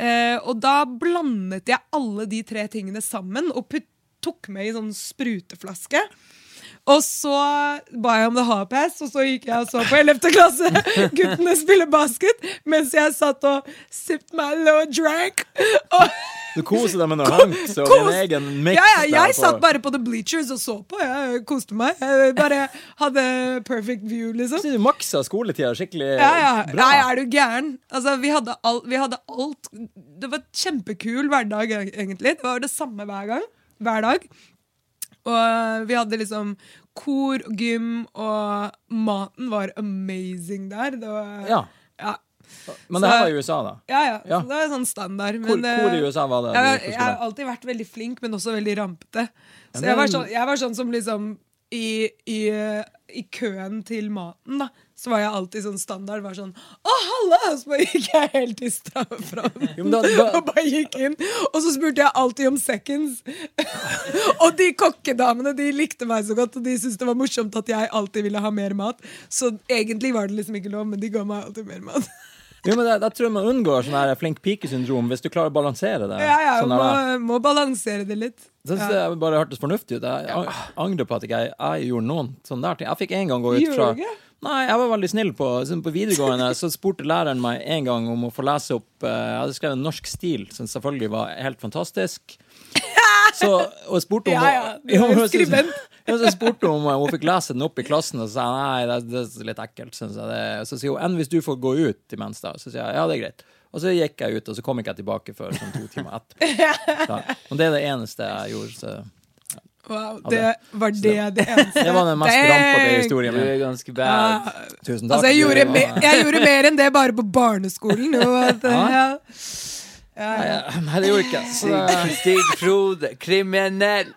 [SPEAKER 3] Eh, og da blandet jeg alle de tre tingene sammen og putt, tok med i sånn spruteflaske. Og så ba jeg om det HPS, og så gikk jeg og så på 11. klasse [LAUGHS] guttene spille basket mens jeg satt og sipped my low drank. Og
[SPEAKER 2] Du koser deg med noe
[SPEAKER 3] [LAUGHS]
[SPEAKER 2] annet. Så din
[SPEAKER 3] Kos-
[SPEAKER 2] egen mix
[SPEAKER 3] ja, ja,
[SPEAKER 2] der
[SPEAKER 3] jeg
[SPEAKER 2] på-
[SPEAKER 3] satt bare på The Bleachers og så på. Jeg koste meg. Jeg bare hadde perfect view, liksom.
[SPEAKER 2] Så du maksa skoletida skikkelig
[SPEAKER 3] Ja, ja.
[SPEAKER 2] bra.
[SPEAKER 3] Nei, er du gæren? Altså, vi hadde, alt, vi hadde alt Det var et kjempekul hverdag, e- egentlig. Det var det samme hver gang. Hver dag. Og vi hadde liksom kor, gym, og maten var amazing der. Det var
[SPEAKER 2] Ja.
[SPEAKER 3] Ja,
[SPEAKER 2] Men det her
[SPEAKER 3] Så-
[SPEAKER 2] var i USA, da.
[SPEAKER 3] ja. ja.
[SPEAKER 2] Ja.
[SPEAKER 3] Så det var sånn standard.
[SPEAKER 2] Hvor,
[SPEAKER 3] Men,
[SPEAKER 2] hvor i
[SPEAKER 3] eh,
[SPEAKER 2] USA var det?
[SPEAKER 3] jeg,
[SPEAKER 2] du
[SPEAKER 3] var-
[SPEAKER 2] gikk på
[SPEAKER 3] jeg
[SPEAKER 2] skole?
[SPEAKER 3] har alltid vært veldig flink, men også veldig rampete. Så
[SPEAKER 2] men-
[SPEAKER 3] jeg var sånn, jeg var sånn som liksom i, i, eh, I køen til maten, da, så var jeg alltid sånn standard. Var sånn Å, halla! Så bare gikk jeg helt i stram fram.
[SPEAKER 2] [LAUGHS] Jo, men da- da-
[SPEAKER 3] Og bare gikk inn. Og så spurte jeg alltid om seconds. [LAUGHS] og de kokkedamene de likte meg så godt, og de syntes det var morsomt at jeg alltid ville ha mer mat. Så egentlig var det liksom ikke lov, men de ga meg alltid mer mat.
[SPEAKER 2] Jo, men jeg, jeg tror man unngår sånn her flink pike-syndrom hvis du klarer å balansere det.
[SPEAKER 3] ja, ja,
[SPEAKER 2] sånn
[SPEAKER 3] må,
[SPEAKER 2] her,
[SPEAKER 3] må balansere det litt.
[SPEAKER 2] Så synes jeg bare hørtes fornuftig ut. Jeg ang- angrer på at ikke jeg, jeg gjorde noen sånne der ting. Jeg fikk en gang gå ut
[SPEAKER 3] Gjorde
[SPEAKER 2] fra
[SPEAKER 3] du ikke?
[SPEAKER 2] Nei, jeg var veldig snill på, sånn på videregående. Så spurte læreren meg en gang om å få lese opp eh, Jeg hadde skrevet norsk stil, som selvfølgelig var helt fantastisk. Så, og spurte om
[SPEAKER 3] Ja, ja,
[SPEAKER 2] [LAUGHS]
[SPEAKER 3] du er
[SPEAKER 2] Jo, men så-
[SPEAKER 3] skribent.
[SPEAKER 2] Ja, så spurte hun om hun fikk lese den opp i klassen, og så sa jeg nei, det, det er litt ekkelt. Synes jeg det. er." Så sier hun enn hvis du får gå ut imens, da. Så sier jeg ja, det er greit. Og så gikk jeg ut, og så kom ikke jeg tilbake før sånn to timer
[SPEAKER 3] [LAUGHS]
[SPEAKER 2] etterpå. Da. Og det er det eneste jeg gjorde. Så.
[SPEAKER 3] Wow,
[SPEAKER 2] Ja,
[SPEAKER 3] det
[SPEAKER 2] det-
[SPEAKER 3] var det
[SPEAKER 2] [LAUGHS]
[SPEAKER 3] det eneste.
[SPEAKER 2] Det var den mest
[SPEAKER 3] Dang!
[SPEAKER 2] rampete historien
[SPEAKER 1] Du
[SPEAKER 2] min.
[SPEAKER 1] er ganske
[SPEAKER 3] Ja.
[SPEAKER 1] bad.
[SPEAKER 2] Eh, Tusen takk.
[SPEAKER 3] Altså, jeg
[SPEAKER 2] du
[SPEAKER 3] gjorde,
[SPEAKER 2] var-
[SPEAKER 3] me- jeg gjorde mer enn det bare på barneskolen. Jo, at, ja. Ja,
[SPEAKER 2] Nei,
[SPEAKER 3] ja.
[SPEAKER 2] jeg- Nei, det gjorde ikke jeg. Så
[SPEAKER 1] Stig, Stig Frode, kriminell!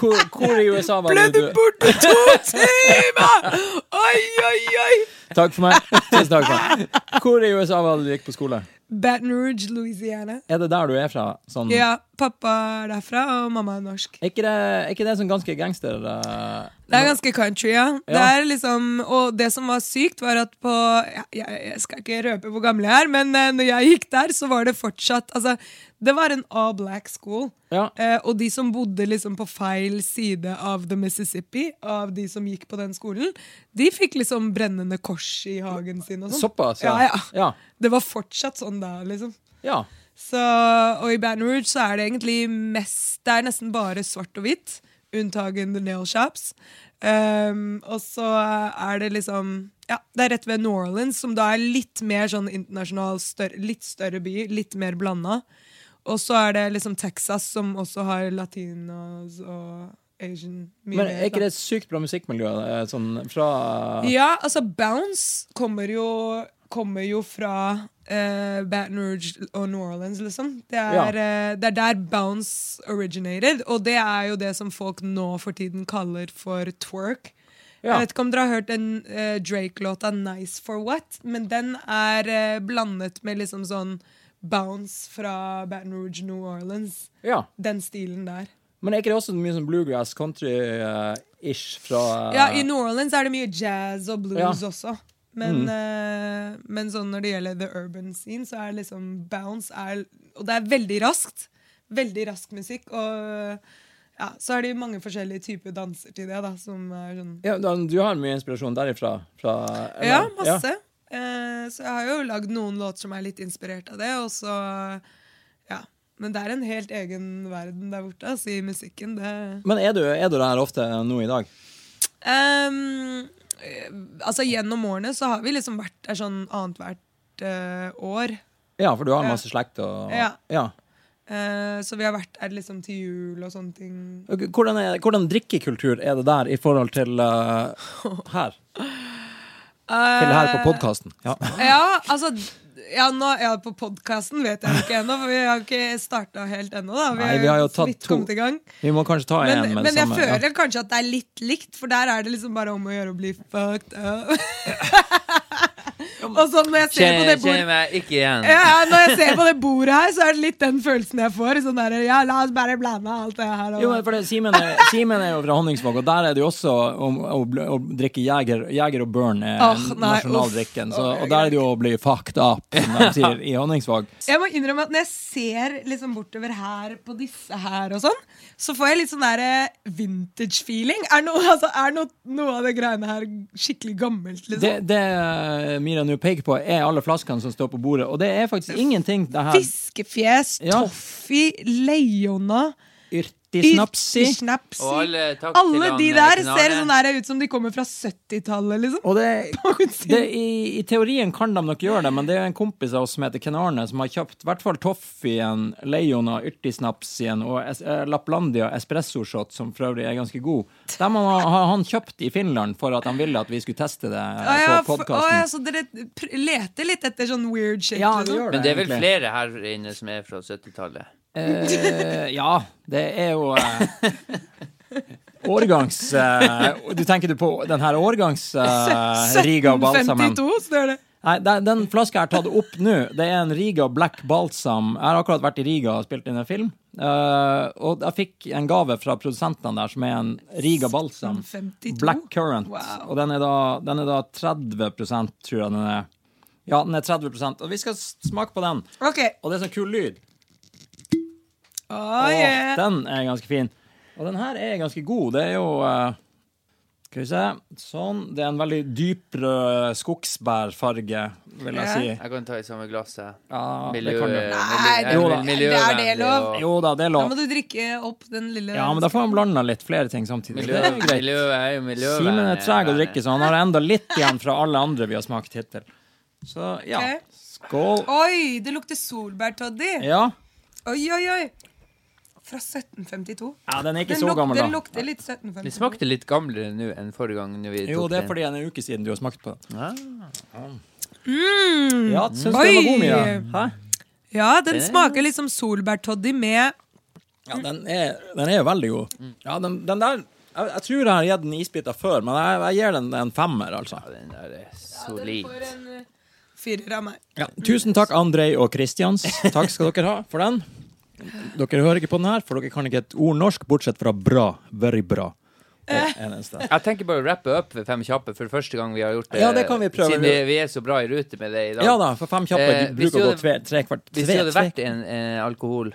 [SPEAKER 2] Hvor, hvor i USA var
[SPEAKER 3] Ble
[SPEAKER 2] det
[SPEAKER 3] du
[SPEAKER 2] du
[SPEAKER 3] borte to timer?! Oi, oi, oi!
[SPEAKER 2] Takk for meg. Tusen takk for meg. Hvor i USA var det du gikk på skole?
[SPEAKER 3] Baton Rouge, Louisiana.
[SPEAKER 2] Er det der du er fra? Sånn,
[SPEAKER 3] Ja, pappa er derfra, og mamma er norsk.
[SPEAKER 2] er, ikke det, er ikke det sånn ganske gangster eh,
[SPEAKER 3] Det er ganske country, ja. Det
[SPEAKER 2] Ja.
[SPEAKER 3] er liksom, og det som var sykt, var at på ja, jeg, jeg skal ikke røpe hvor gammel jeg er, men eh, når jeg gikk der, så var det fortsatt Altså, det var en all black school.
[SPEAKER 2] Ja.
[SPEAKER 3] Eh, og de som bodde liksom på feil side av The Mississippi, av de som gikk på den skolen, de fikk liksom brennende kors i hagen sin og sånn.
[SPEAKER 2] Såpass,
[SPEAKER 3] ja.
[SPEAKER 2] ja.
[SPEAKER 3] Ja,
[SPEAKER 2] Ja.
[SPEAKER 3] Det var fortsatt sånn da, liksom.
[SPEAKER 2] Ja.
[SPEAKER 3] Så, og i Baton Rouge så er det egentlig mest Det er nesten bare svart og hvitt, unntagen The Nail Shops. Um, og så er det liksom Ja, det er rett ved New Orleans, som da er litt mer sånn internasjonal, større, litt større by, litt mer blanda. Og så er det liksom Texas, som også har latinos og Asian mye
[SPEAKER 2] Men
[SPEAKER 3] mer,
[SPEAKER 2] er ikke
[SPEAKER 3] da.
[SPEAKER 2] det et sykt bra musikkmiljø? eh, Sånn fra
[SPEAKER 3] Ja, altså Bounce kommer jo, kommer jo fra eh, Baton Rouge og New Orleans, liksom. Det er,
[SPEAKER 2] Ja.
[SPEAKER 3] eh, det er der Bounce originated, og det er jo det som folk nå for tiden kaller for twerk.
[SPEAKER 2] Ja.
[SPEAKER 3] Jeg vet ikke om dere har hørt den eh, Drake-låta 'Nice for What', men den er eh, blandet med liksom sånn bounce fra Baton Rouge, New Orleans.
[SPEAKER 2] Ja.
[SPEAKER 3] Den stilen der.
[SPEAKER 2] Men er ikke det også mye sånn bluegrass country-ish fra eh,
[SPEAKER 3] Ja, i New Orleans er det mye jazz og blues
[SPEAKER 2] Ja.
[SPEAKER 3] også. Men, eh, men sånn når det gjelder the urban scene, så er liksom bounce er, Og det er veldig raskt. Veldig rask musikk. Og ja, så er det mange forskjellige typer danser til det, da, som er sånn
[SPEAKER 2] ja, da- Du har mye inspirasjon derifra? Fra, eller-
[SPEAKER 3] Ja, masse. Eh, så jeg har jo lagd noen låter som er litt inspirert av det, og så ja. Men det er en helt egen verden der borte, altså, i musikken. Det
[SPEAKER 2] Men er du, er du der ofte nå i dag?
[SPEAKER 3] Ehm, eh, Altså, gjennom årene så har vi liksom vært der sånn annethvert eh, år.
[SPEAKER 2] Ja, for du har
[SPEAKER 3] Ja.
[SPEAKER 2] masse slekt og
[SPEAKER 3] Ja.
[SPEAKER 2] ja.
[SPEAKER 3] Eh, så vi har vært der liksom til jul og sånne ting.
[SPEAKER 2] Ok, Hvordan, er, hvordan drikkekultur er det der i forhold til eh, her? Til her
[SPEAKER 3] Eh,
[SPEAKER 2] på podkasten? Ja.
[SPEAKER 3] Ja, altså ja, nå, ja, På podkasten vet jeg jo ikke ennå, for vi har ikke starta helt ennå. Da.
[SPEAKER 2] Nei, vi har jo
[SPEAKER 3] så
[SPEAKER 2] tatt
[SPEAKER 3] vidt
[SPEAKER 2] to-
[SPEAKER 3] kommet i gang.
[SPEAKER 2] Vi må kanskje ta
[SPEAKER 3] Men,
[SPEAKER 2] en med det
[SPEAKER 3] men jeg
[SPEAKER 2] samme.
[SPEAKER 3] føler
[SPEAKER 2] ja.
[SPEAKER 3] kanskje at det er litt likt, for der er det liksom bare om å gjøre å bli fucked up. [LAUGHS] Og sånn når jeg ser på det
[SPEAKER 1] Kjenn kjenn
[SPEAKER 3] bordet
[SPEAKER 1] meg ikke igjen.
[SPEAKER 3] ja, ja, når jeg ser på det bordet her, så er det litt den følelsen jeg får. Sånn der, ja, la oss bare blande alt det her. Og,
[SPEAKER 2] Jo, men for det, Simen, er, Simen er jo fra Honningsvåg, og der er det jo også om, å, bl- å drikke Jeger, Jeger og Burn er
[SPEAKER 3] Åh, nei,
[SPEAKER 2] nasjonaldrikken.
[SPEAKER 3] uff.
[SPEAKER 2] Så,
[SPEAKER 3] Åh,
[SPEAKER 2] og der er det jo å bli fucked up, som de sier i Honningsvåg.
[SPEAKER 3] Jeg må innrømme at når jeg ser liksom bortover her på disse her og sånn, så får jeg litt sånn der eh, vintage-feeling. Er, noe, altså, er noe, noe av det greiene her skikkelig gammelt,
[SPEAKER 2] Det,
[SPEAKER 3] liksom?
[SPEAKER 2] det eh, Mira nå peker på, er alle flaskene som står på bordet, og det er faktisk ingenting. Det her
[SPEAKER 3] Fiskefjes,
[SPEAKER 2] Ja.
[SPEAKER 3] toffee, leiona,
[SPEAKER 2] yrtisnapsi.
[SPEAKER 3] yrkesnapsi.
[SPEAKER 1] Og alle, takk til
[SPEAKER 3] Alle
[SPEAKER 1] han,
[SPEAKER 3] de
[SPEAKER 1] eh,
[SPEAKER 3] der
[SPEAKER 1] Knarre.
[SPEAKER 3] ser sånn der ut som de kommer fra 70-tallet, liksom.
[SPEAKER 2] Og det,
[SPEAKER 3] [LAUGHS] Noensinne.
[SPEAKER 2] det, i, I teorien kan de nok gjøre det, men det er en kompis av oss som heter Ken Arne, som har kjøpt i hvert fall Toffien, Leiona, Yrtisnapsien og es, eh, Laplandia Espresso Shot, som for øvrig er ganske god. Dem har, har han kjøpt i Finland for at han ville at vi skulle teste det eh,
[SPEAKER 3] Å ja,
[SPEAKER 2] på
[SPEAKER 3] for, å ja,
[SPEAKER 2] podkasten.
[SPEAKER 3] så dere pr- leter litt etter sånn weird shit?
[SPEAKER 2] Ja, det
[SPEAKER 3] liksom.
[SPEAKER 2] gjør det.
[SPEAKER 1] Men det er vel
[SPEAKER 2] egentlig.
[SPEAKER 1] flere her inne som er fra 70-tallet.
[SPEAKER 2] Eh, ja, det er jo eh, Årgangs... Eh, du tenker du på den her årgangs
[SPEAKER 3] [LAUGHS]
[SPEAKER 2] eh, Riga og Balsamen?
[SPEAKER 3] 1752 står det.
[SPEAKER 2] Nei, den, den flaska jeg har tatt opp nå, det er en Riga Black Balsam. Jeg har akkurat vært i Riga og spilt inn en film. eh, og jeg fikk en gave fra produsentene der som er en Riga Balsam
[SPEAKER 3] 52?
[SPEAKER 2] Black Current.
[SPEAKER 3] Wow.
[SPEAKER 2] Og den er, da, den er da 30 tror jeg den er. Ja, den er 30 Og vi skal s- smake på den.
[SPEAKER 3] Ok.
[SPEAKER 2] Og det er sånn kul lyd.
[SPEAKER 3] Oh,
[SPEAKER 2] Åh,
[SPEAKER 3] yeah.
[SPEAKER 2] Den er ganske fin. Og den her er ganske god. Det er jo eh, Skal vi se. Sånn. Det er en veldig dyprød skogsbærfarge, vil jeg
[SPEAKER 3] Ja.
[SPEAKER 2] si.
[SPEAKER 1] Jeg kan ta i samme glass, jeg.
[SPEAKER 2] Ja, det
[SPEAKER 1] Miljø,
[SPEAKER 2] kan du.
[SPEAKER 3] Nei,
[SPEAKER 1] miljø,
[SPEAKER 2] jo da.
[SPEAKER 1] eh, miljøvennlig
[SPEAKER 3] Er det lov?
[SPEAKER 1] og-
[SPEAKER 2] Jo da, det er
[SPEAKER 3] Da
[SPEAKER 2] lov.
[SPEAKER 3] må du drikke opp den lille
[SPEAKER 2] Ja, men da får han blanda litt flere ting samtidig.
[SPEAKER 1] Miljø,
[SPEAKER 2] Det er jo greit.
[SPEAKER 1] miljø er jo miljøvennlig.
[SPEAKER 2] Simen er treg å drikke, så han har enda litt igjen fra alle andre vi har smakt hittil. Så ja.
[SPEAKER 3] Ok.
[SPEAKER 2] Skål.
[SPEAKER 3] Oi, det lukter solbær, Toddy.
[SPEAKER 2] Ja.
[SPEAKER 3] Oi, oi, oi. Fra 1752.
[SPEAKER 2] ja, den er ikke
[SPEAKER 3] Den,
[SPEAKER 2] så
[SPEAKER 3] luk
[SPEAKER 2] gammel,
[SPEAKER 3] den
[SPEAKER 2] da.
[SPEAKER 3] lukter litt
[SPEAKER 1] Det
[SPEAKER 3] 1752.
[SPEAKER 1] smakte litt gamlere nå enn forrige gang. Når vi
[SPEAKER 2] Jo,
[SPEAKER 1] tok
[SPEAKER 2] det er
[SPEAKER 1] den.
[SPEAKER 2] fordi det er en uke siden du har smakt på den.
[SPEAKER 3] Mm.
[SPEAKER 2] Ja, syns du den var god, Mia?
[SPEAKER 3] Oi.
[SPEAKER 2] Hæ?
[SPEAKER 3] Ja, den smaker liksom solbær-Toddy med
[SPEAKER 2] Ja, den er, den er jo veldig god.
[SPEAKER 1] Mm.
[SPEAKER 2] Ja, den, den der jeg, jeg tror jeg har gitt den isbiter før, men jeg, jeg gir den en femmer, altså.
[SPEAKER 1] Ja, Den der er
[SPEAKER 3] Den
[SPEAKER 1] solid.
[SPEAKER 3] får en eh, firer av meg. [LAUGHS]
[SPEAKER 2] Ja, tusen takk, Andrej og Kristians. Takk skal dere ha for den. Dere hører ikke på den her, for dere kan ikke et ord norsk, bortsett fra bra. Very bra. Det er det eneste.
[SPEAKER 1] Jeg tenker bare å rappe opp ved Fem kjappe for første gang vi har gjort det.
[SPEAKER 2] Ja, det kan vi prøve.
[SPEAKER 1] Siden det- vi er så bra i rute med det i dag.
[SPEAKER 2] Ja da, for fem kjappe
[SPEAKER 1] Eh,
[SPEAKER 2] du
[SPEAKER 1] hvis
[SPEAKER 2] bruker å gå
[SPEAKER 1] du hadde-
[SPEAKER 2] tve, tre kvart
[SPEAKER 1] Hvis
[SPEAKER 2] tve-
[SPEAKER 1] det hadde
[SPEAKER 2] tve-
[SPEAKER 1] vært en eh, alkohol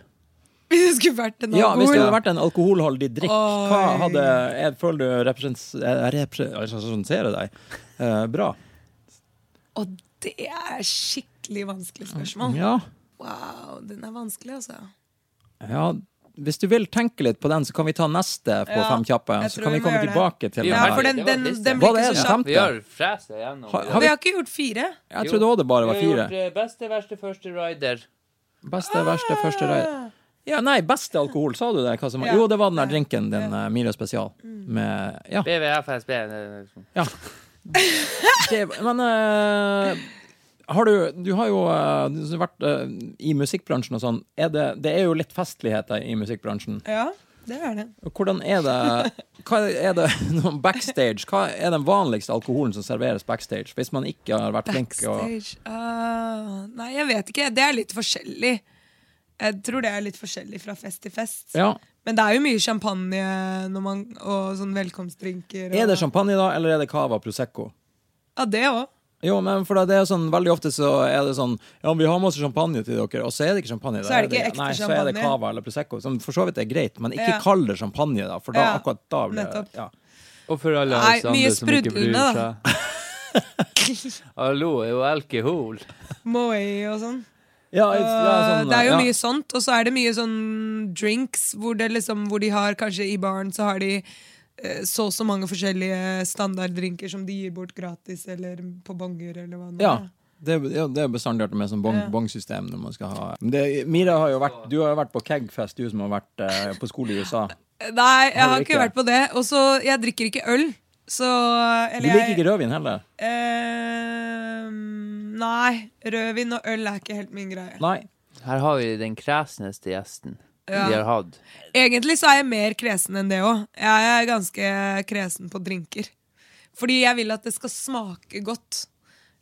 [SPEAKER 3] Hvis det skulle vært en
[SPEAKER 2] ja, hvis det hadde
[SPEAKER 3] alkohol.
[SPEAKER 2] vært en alkoholholdig drikk, hva
[SPEAKER 3] Oi.
[SPEAKER 2] hadde Jeg føler du represent- eh, repre- representerer deg eh, bra.
[SPEAKER 3] Og det er skikkelig vanskelig spørsmål.
[SPEAKER 2] Ja.
[SPEAKER 3] Wow, den er vanskelig, altså.
[SPEAKER 2] ja. Hvis du vil tenke litt på den, så kan vi ta neste på
[SPEAKER 3] Ja,
[SPEAKER 2] fem kjappe.
[SPEAKER 3] jeg
[SPEAKER 2] Så
[SPEAKER 3] tror
[SPEAKER 2] kan vi
[SPEAKER 3] vi må
[SPEAKER 2] komme
[SPEAKER 3] gjøre det.
[SPEAKER 2] tilbake til
[SPEAKER 1] Ja,
[SPEAKER 2] den. her.
[SPEAKER 3] for
[SPEAKER 1] det
[SPEAKER 3] den,
[SPEAKER 1] var
[SPEAKER 3] den,
[SPEAKER 1] trist,
[SPEAKER 3] den
[SPEAKER 2] ja.
[SPEAKER 3] blir
[SPEAKER 2] Hva er
[SPEAKER 3] ikke
[SPEAKER 2] det
[SPEAKER 3] så
[SPEAKER 2] som-
[SPEAKER 3] kjapp.
[SPEAKER 1] Vi har fresa gjennom.
[SPEAKER 2] Har-
[SPEAKER 1] i dag.
[SPEAKER 2] har
[SPEAKER 3] Vi har ikke gjort fire.
[SPEAKER 2] Jeg trodde også det bare var
[SPEAKER 1] Vi har
[SPEAKER 2] fire.
[SPEAKER 1] gjort, eh, Beste, verste, første rider.
[SPEAKER 2] Beste, verste, første røy. Ja, nei, beste alkohol, sa du det? Hva som var?
[SPEAKER 3] Ja. Mm.
[SPEAKER 2] Jo, det var den der drinken din, eh, Mira Spesial. Med, ja.
[SPEAKER 1] BVFSB. eh,
[SPEAKER 2] ja. Det, men eh, har du Du har jo eh, du har vært eh, i musikkbransjen og sånn. Er det, det er jo litt festligheter i musikkbransjen.
[SPEAKER 3] Ja, det er det.
[SPEAKER 2] Og Hvordan er det Hva er det [LAUGHS] noen backstage? Hva er den vanligste alkoholen som serveres backstage, hvis man ikke har vært flink? Og,
[SPEAKER 3] Backstage ah, Nei, jeg vet ikke. Det er litt forskjellig. Jeg tror det er litt forskjellig fra fest til fest.
[SPEAKER 2] ja.
[SPEAKER 3] Men det er jo mye champagne når man, og sånn velkomstdrinker. Og,
[SPEAKER 2] Er det champagne, da, eller er det cava prosecco?
[SPEAKER 3] Ja, det òg.
[SPEAKER 2] Jo, men for det er sånn, Veldig ofte så er det sånn Ja, vi har masse champagne til dere, og så er det ikke champagne.
[SPEAKER 3] Så er det ikke ekte
[SPEAKER 2] Nei, så er det
[SPEAKER 3] champagne.
[SPEAKER 2] cava eller prosecco, som for så vidt er greit, men ikke
[SPEAKER 3] Ja.
[SPEAKER 2] kall det champagne, da, for da,
[SPEAKER 3] Ja,
[SPEAKER 2] akkurat da blir det
[SPEAKER 3] nettopp.
[SPEAKER 2] ja.
[SPEAKER 1] Og for alle
[SPEAKER 3] Nei,
[SPEAKER 1] oss andre
[SPEAKER 3] mye
[SPEAKER 1] som ikke bryr
[SPEAKER 3] sprudlende, [LAUGHS]
[SPEAKER 1] seg. Hallo er jo alkohol.
[SPEAKER 3] Moët og sånn.
[SPEAKER 2] Ja, et- ja, sånn,
[SPEAKER 3] det er jo
[SPEAKER 2] ja.
[SPEAKER 3] mye sånt, og så er det mye sånn drinks hvor, det liksom, hvor de har kanskje i baren så har de eh, så og så mange forskjellige standarddrinker som de gir bort gratis eller på bonger eller hva det
[SPEAKER 2] Ja.
[SPEAKER 3] er.
[SPEAKER 2] Det, er- ja, det er bestandig artig med sånn bong,
[SPEAKER 3] Ja.
[SPEAKER 2] bongsystem når man skal ha Men det, Mira har jo vært Du har jo vært på Kegfest, du som har vært eh, på skole i USA.
[SPEAKER 3] Nei, jeg
[SPEAKER 2] Har
[SPEAKER 3] har
[SPEAKER 2] du
[SPEAKER 3] ikke
[SPEAKER 2] ikke?
[SPEAKER 3] vært på det. Og så jeg drikker ikke øl. Så
[SPEAKER 2] Du
[SPEAKER 3] eller
[SPEAKER 2] liker
[SPEAKER 3] jeg-
[SPEAKER 2] ikke rødvin heller?
[SPEAKER 3] Eh, nei. Rødvin og øl er ikke helt min greie.
[SPEAKER 2] Nei.
[SPEAKER 1] Her har vi den kresneste gjesten
[SPEAKER 3] Ja.
[SPEAKER 1] vi har hatt.
[SPEAKER 3] Egentlig så er jeg mer kresen enn det òg. Jeg er ganske kresen på drinker. Fordi jeg vil at det skal smake godt.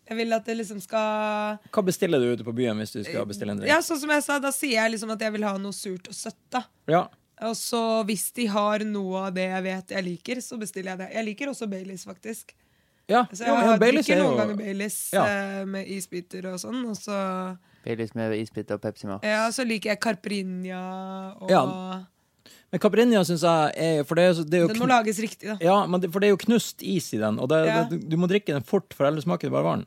[SPEAKER 3] Jeg vil at det liksom skal
[SPEAKER 2] Hva bestiller du ute på byen hvis du skal bestille en drink?
[SPEAKER 3] Ja, sånn som jeg sa, da sier jeg liksom at jeg vil ha noe surt og søtt, da.
[SPEAKER 2] Ja.
[SPEAKER 3] Og så hvis de har noe av det jeg vet jeg liker, så bestiller jeg det. Jeg liker også Baileys, faktisk.
[SPEAKER 2] Ja,
[SPEAKER 3] Så Altså, jeg
[SPEAKER 2] ja,
[SPEAKER 3] har-
[SPEAKER 2] ja Baileys
[SPEAKER 3] drikker
[SPEAKER 2] er
[SPEAKER 3] noen ganger
[SPEAKER 2] jo
[SPEAKER 3] Baileys
[SPEAKER 2] Ja.
[SPEAKER 3] eh, med isbiter og sånn. Og så,
[SPEAKER 1] Baileys med isbiter og Pepsi Max.
[SPEAKER 3] ja, så liker jeg Carprinja og
[SPEAKER 2] Ja, Men Caprinia syns jeg er For det er, så- det er jo
[SPEAKER 3] Den
[SPEAKER 2] kn-
[SPEAKER 3] må lages riktig, da.
[SPEAKER 2] Ja, men det, for det er jo knust is i den, og det,
[SPEAKER 3] Ja.
[SPEAKER 2] det, du må drikke den fort, for ellers smaker det bare vann.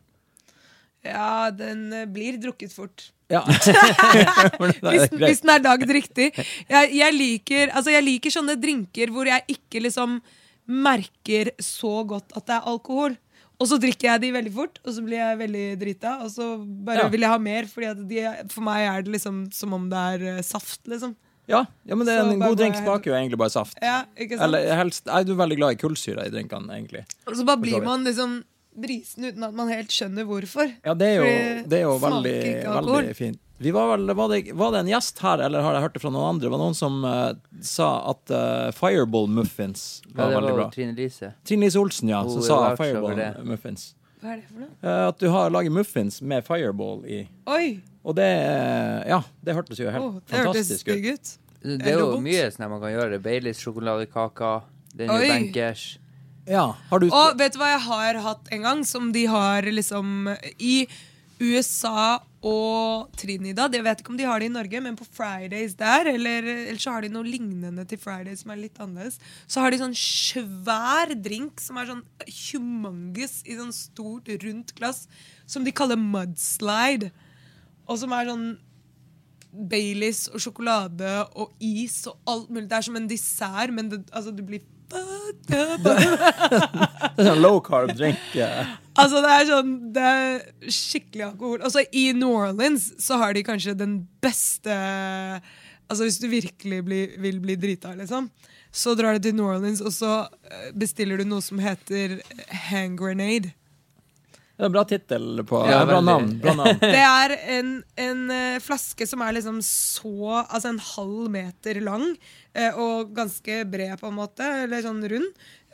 [SPEAKER 3] Ja, den eh, blir drukket fort. [LAUGHS]
[SPEAKER 2] Ja. For det er
[SPEAKER 3] Hvis,
[SPEAKER 2] greit.
[SPEAKER 3] hvis den er lagd riktig. Jeg, jeg, liker, altså jeg liker sånne drinker hvor jeg ikke liksom merker så godt at det er alkohol. Og så drikker jeg de veldig fort, og så blir jeg veldig drita. Og så bare
[SPEAKER 2] Ja.
[SPEAKER 3] vil jeg ha mer, fordi at de, for meg er det liksom som om det er eh, saft, liksom.
[SPEAKER 2] ja, ja, men det, er
[SPEAKER 3] Så
[SPEAKER 2] en
[SPEAKER 3] bare
[SPEAKER 2] god drink
[SPEAKER 3] går jeg-
[SPEAKER 2] smaker jo egentlig bare saft.
[SPEAKER 3] Ja, ikke sant?
[SPEAKER 2] Eller helst Jeg er jo veldig glad i kullsyre i drinkene, egentlig.
[SPEAKER 3] og så bare
[SPEAKER 2] for så
[SPEAKER 3] blir
[SPEAKER 2] vidt.
[SPEAKER 3] man liksom brisen uten at man helt skjønner hvorfor.
[SPEAKER 2] Ja, det er jo,
[SPEAKER 3] Fordi
[SPEAKER 2] det er jo
[SPEAKER 3] smaker
[SPEAKER 2] veldig,
[SPEAKER 3] ikke alkohol.
[SPEAKER 2] veldig fint. Vi var, vel, var, det, var det en gjest her, eller har jeg hørt det fra noen andre? Det var noen som eh, sa at eh, Fireball muffins
[SPEAKER 1] Ja,
[SPEAKER 2] var
[SPEAKER 1] det var
[SPEAKER 2] veldig
[SPEAKER 1] jo Oh,
[SPEAKER 2] bra.
[SPEAKER 1] Trine Lise.
[SPEAKER 2] Trine Lise Olsen, ja,
[SPEAKER 1] Hun
[SPEAKER 2] som sa
[SPEAKER 1] var klar over
[SPEAKER 2] Fireball
[SPEAKER 1] det.
[SPEAKER 2] muffins.
[SPEAKER 3] Hva er det for noe?
[SPEAKER 2] Eh, at du har laget muffins med Fireball i.
[SPEAKER 3] Oi!
[SPEAKER 2] Og det eh, Ja, det hørtes jo helt
[SPEAKER 3] Oh, det hørtes
[SPEAKER 2] fantastisk ut.
[SPEAKER 3] stygg ut.
[SPEAKER 1] Det er jo
[SPEAKER 3] Robot.
[SPEAKER 1] mye sånn her man kan gjøre. Baileys sjokoladekaker. Den er
[SPEAKER 3] Oi.
[SPEAKER 1] jo bankers.
[SPEAKER 2] Ja, har du
[SPEAKER 3] Og vet du hva jeg har hatt en gang som de har liksom I USA og Trinidad, jeg vet ikke om de har det i Norge, men på Fridays der, eller, eller så har de noe lignende til Fridays som er litt annerledes, så har de sånn svær drink som er sånn humongous i sånn stort, rundt glass, som de kaller mudslide, og som er sånn Baileys og sjokolade og is og alt mulig. Det er som en dessert, men det, altså, du blir fucked up av
[SPEAKER 2] [LAUGHS] Det er sånn low carb drink. eh.
[SPEAKER 3] Altså det er sånn Det er skikkelig alkohol. Altså I New Orleans så har de kanskje den beste Altså Hvis du virkelig blir, vil bli drita, liksom, så drar du til New Orleans og så eh, bestiller du noe som heter hand grenade.
[SPEAKER 2] Det er en bra tittel på
[SPEAKER 1] Ja,
[SPEAKER 2] Bra
[SPEAKER 1] veldig.
[SPEAKER 2] navn. Bra navn.
[SPEAKER 3] Det er en, en eh, flaske som er liksom så Altså en halv meter lang eh, og ganske bred, på en måte. Eller sånn rund.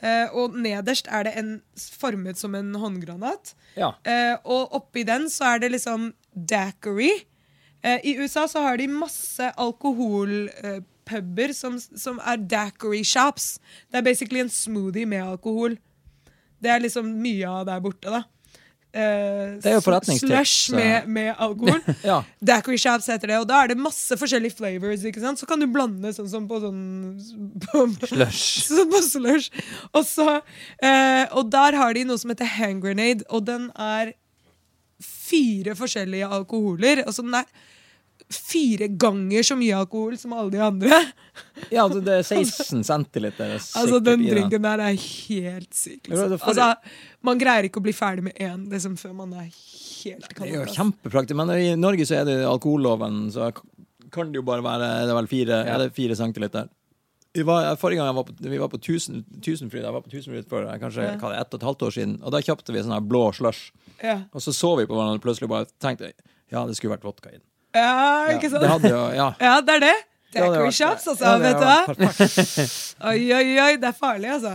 [SPEAKER 3] Eh, og nederst er det en formet som en håndgranat.
[SPEAKER 2] Ja.
[SPEAKER 3] Eh, og oppi den så er det liksom daiquiri. Eh, I USA så har de masse alkoholpuber eh, puber som, som er daiquiri shops. Det er basically en smoothie med alkohol. Det er liksom mye av der borte, da. Eh,
[SPEAKER 2] Det er jo
[SPEAKER 3] sl-
[SPEAKER 2] forretningstips, så-
[SPEAKER 3] Slush med, med alkohol.
[SPEAKER 2] [LAUGHS] ja.
[SPEAKER 3] Daiquiri shops heter det, og da er det masse forskjellige flavors. ikke sant? Så kan du blande sånn som på sånn på, [LAUGHS]
[SPEAKER 1] Slush.
[SPEAKER 3] så masse lunsj. Og, så, eh, og der har de noe som heter hand grenade, og den er fire forskjellige alkoholer. Altså den er fire ganger så mye alkohol som alle de andre.
[SPEAKER 2] ja, altså, det
[SPEAKER 3] [LAUGHS]
[SPEAKER 2] det er 16 centiliter.
[SPEAKER 3] Altså
[SPEAKER 2] sikkert
[SPEAKER 3] Den
[SPEAKER 2] i
[SPEAKER 3] drinken der er helt syk.
[SPEAKER 2] Ja,
[SPEAKER 3] Liksom.
[SPEAKER 2] det er for-
[SPEAKER 3] Altså, man greier ikke å bli ferdig med én liksom, før man er helt
[SPEAKER 2] Det er jo
[SPEAKER 3] kanonplass.
[SPEAKER 2] kjempepraktisk, men i Norge så er det alkoholloven, så k- kan det jo bare være det er vel fire,
[SPEAKER 1] Ja.
[SPEAKER 2] er det fire centiliter. Vi var, forrige gang jeg var på, vi var på tusen, Tusenfryd, jeg var på Tusenfryd før, det er kanskje hva det er, ett og et halvt år siden, og da kjøpte vi sånn her blå slush.
[SPEAKER 3] altså. Ja.
[SPEAKER 2] Og så så vi på hverandre og plutselig bare tenkte ja, det skulle vært vodka i den.
[SPEAKER 3] ja,
[SPEAKER 2] Ja, Det
[SPEAKER 3] ikke sant?
[SPEAKER 2] hadde jo, ja.
[SPEAKER 3] Ja, det er [LAUGHS] det.
[SPEAKER 2] Det hadde
[SPEAKER 3] Daiquiri
[SPEAKER 2] vært-
[SPEAKER 3] shops, altså.
[SPEAKER 2] ja, det
[SPEAKER 3] vet
[SPEAKER 2] hadde
[SPEAKER 3] du hva?
[SPEAKER 2] vært perfekt.
[SPEAKER 3] Oi, oi, oi, det er farlig, altså.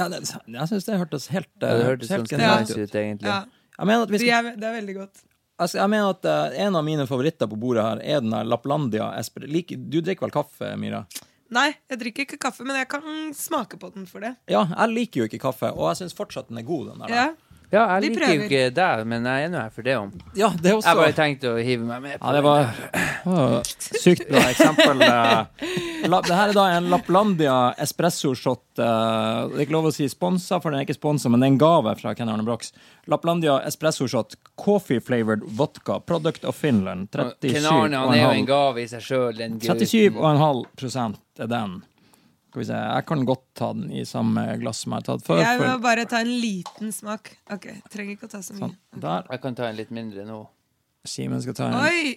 [SPEAKER 2] Ja, det, jeg syns det hørtes helt,
[SPEAKER 1] Ja, det
[SPEAKER 2] eh,
[SPEAKER 1] hørtes
[SPEAKER 2] helt
[SPEAKER 1] ganske
[SPEAKER 2] genialt
[SPEAKER 1] nice
[SPEAKER 2] ut.
[SPEAKER 1] ut, egentlig.
[SPEAKER 3] Ja.
[SPEAKER 2] Jeg mener at, vi
[SPEAKER 3] Det
[SPEAKER 2] skal,
[SPEAKER 3] er, det er veldig godt.
[SPEAKER 2] altså, jeg mener at eh, en av mine favoritter på bordet her er den her Laplandia Espre... Like, du drikker vel kaffe, Mira?
[SPEAKER 3] Nei, jeg drikker ikke kaffe, men jeg kan smake på den for det.
[SPEAKER 2] Ja, jeg liker jo ikke kaffe, og jeg syns fortsatt den er god, den der.
[SPEAKER 3] Ja.
[SPEAKER 1] Vet Ja, jeg
[SPEAKER 3] Vi
[SPEAKER 1] liker jo
[SPEAKER 3] prøver.
[SPEAKER 1] ikke deg, men jeg er nå her for det om.
[SPEAKER 2] Ja, det er
[SPEAKER 1] Jeg
[SPEAKER 2] også
[SPEAKER 1] bare tenkte å hive meg med. på
[SPEAKER 2] Ja, det var, det var sykt bra eksempel. eh. La- Det her er da en Lapplandia espressoshot. eh, Det er ikke lov å si sponsa, for den er ikke sponsa, men det er en gave fra Ken Arne Brox. Lapplandia espressoshot, coffee flavored vodka, product of Finland.
[SPEAKER 1] Ken Arne han er jo
[SPEAKER 2] 37,5
[SPEAKER 1] en gave i seg sjøl, den gutten.
[SPEAKER 2] 37,5 er den. Skal vi se, jeg kan godt ta den i samme glass som jeg har tatt før.
[SPEAKER 3] Jeg må
[SPEAKER 2] for-
[SPEAKER 3] bare ta en liten smak. Ok, Trenger ikke å ta så mye.
[SPEAKER 2] Sånn, der.
[SPEAKER 1] Jeg kan ta en litt mindre nå.
[SPEAKER 2] Simen skal ta en.
[SPEAKER 3] Oi!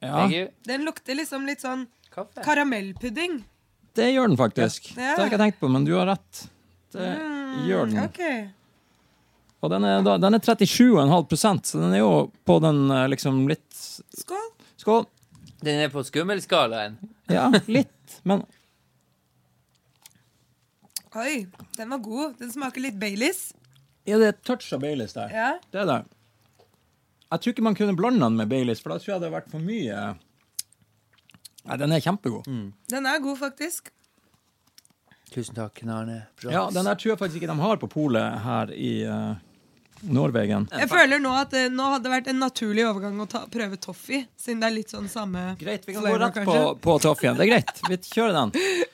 [SPEAKER 2] Ja,
[SPEAKER 1] Thank you.
[SPEAKER 3] Den lukter liksom litt sånn
[SPEAKER 1] Kaffe?
[SPEAKER 3] karamellpudding.
[SPEAKER 2] det gjør den faktisk.
[SPEAKER 3] Ja.
[SPEAKER 2] Det har jeg ikke tenkt på, men du har rett. Det gjør den.
[SPEAKER 3] Ok.
[SPEAKER 2] Og den er, da- den er 37,5 så den er jo på den eh, liksom litt
[SPEAKER 3] Skål.
[SPEAKER 2] Skål!
[SPEAKER 1] Den er på skummelskalaen.
[SPEAKER 2] Ja, litt, men
[SPEAKER 3] Oi, den var god. Den smaker litt Baileys.
[SPEAKER 2] Ja, det er et touch av Baileys der.
[SPEAKER 3] Ja.
[SPEAKER 2] Det er det. Jeg tror ikke man kunne blande den med Baileys, for da tror jeg det hadde vært for mye Nei, den er kjempegod.
[SPEAKER 3] Den er god, faktisk.
[SPEAKER 1] Tusen takk, Ken Arne. Bra.
[SPEAKER 2] Ja, den der tror jeg faktisk ikke de har på polet her i eh, Norvegen.
[SPEAKER 3] Jeg føler nå at eh, nå hadde det vævært en naturlig overgang å ta, prøve toffee, siden det er litt sånn samme
[SPEAKER 2] Greit, vi kan gå
[SPEAKER 3] flavor,
[SPEAKER 2] rett på,
[SPEAKER 3] kanskje.
[SPEAKER 2] på toffien. Det er greit. Vi kjører den.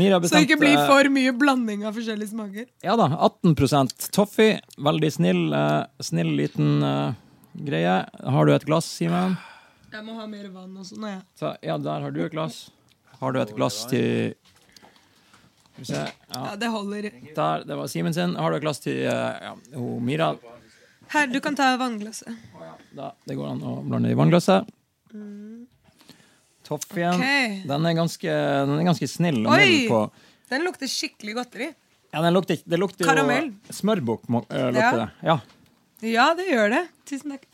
[SPEAKER 2] Mira
[SPEAKER 3] Så det ikke blir
[SPEAKER 2] bestemte- eh,
[SPEAKER 3] for mye blanding av forskjellige smaker.
[SPEAKER 2] Ja da, 18 toffee. Veldig snill, eh, snill liten eh, greie. Har du et glass, Simen?
[SPEAKER 3] Jeg må ha mer vann også nå, jeg.
[SPEAKER 2] Så, Ja, der har du et glass. Har du et glass til Skal vi se. Ja,
[SPEAKER 3] Ja, det holder.
[SPEAKER 2] der, det var Simen sin. Har du et glass til eh, ja, ho, Mira?
[SPEAKER 3] Her, du kan ta vannglasset.
[SPEAKER 2] Da, det går an å blande i vannglasset. Toffeen.
[SPEAKER 3] Ok.
[SPEAKER 2] Den, er ganske, den er ganske snill og
[SPEAKER 3] Oi!
[SPEAKER 2] mild på
[SPEAKER 3] Den lukter skikkelig godteri.
[SPEAKER 2] ja, den lukter, Det lukter
[SPEAKER 3] Karamell.
[SPEAKER 2] jo smørbukk. må- eh,
[SPEAKER 3] Ja.
[SPEAKER 2] Lukter det. Ja.
[SPEAKER 3] Ja, det gjør det. Tusen takk.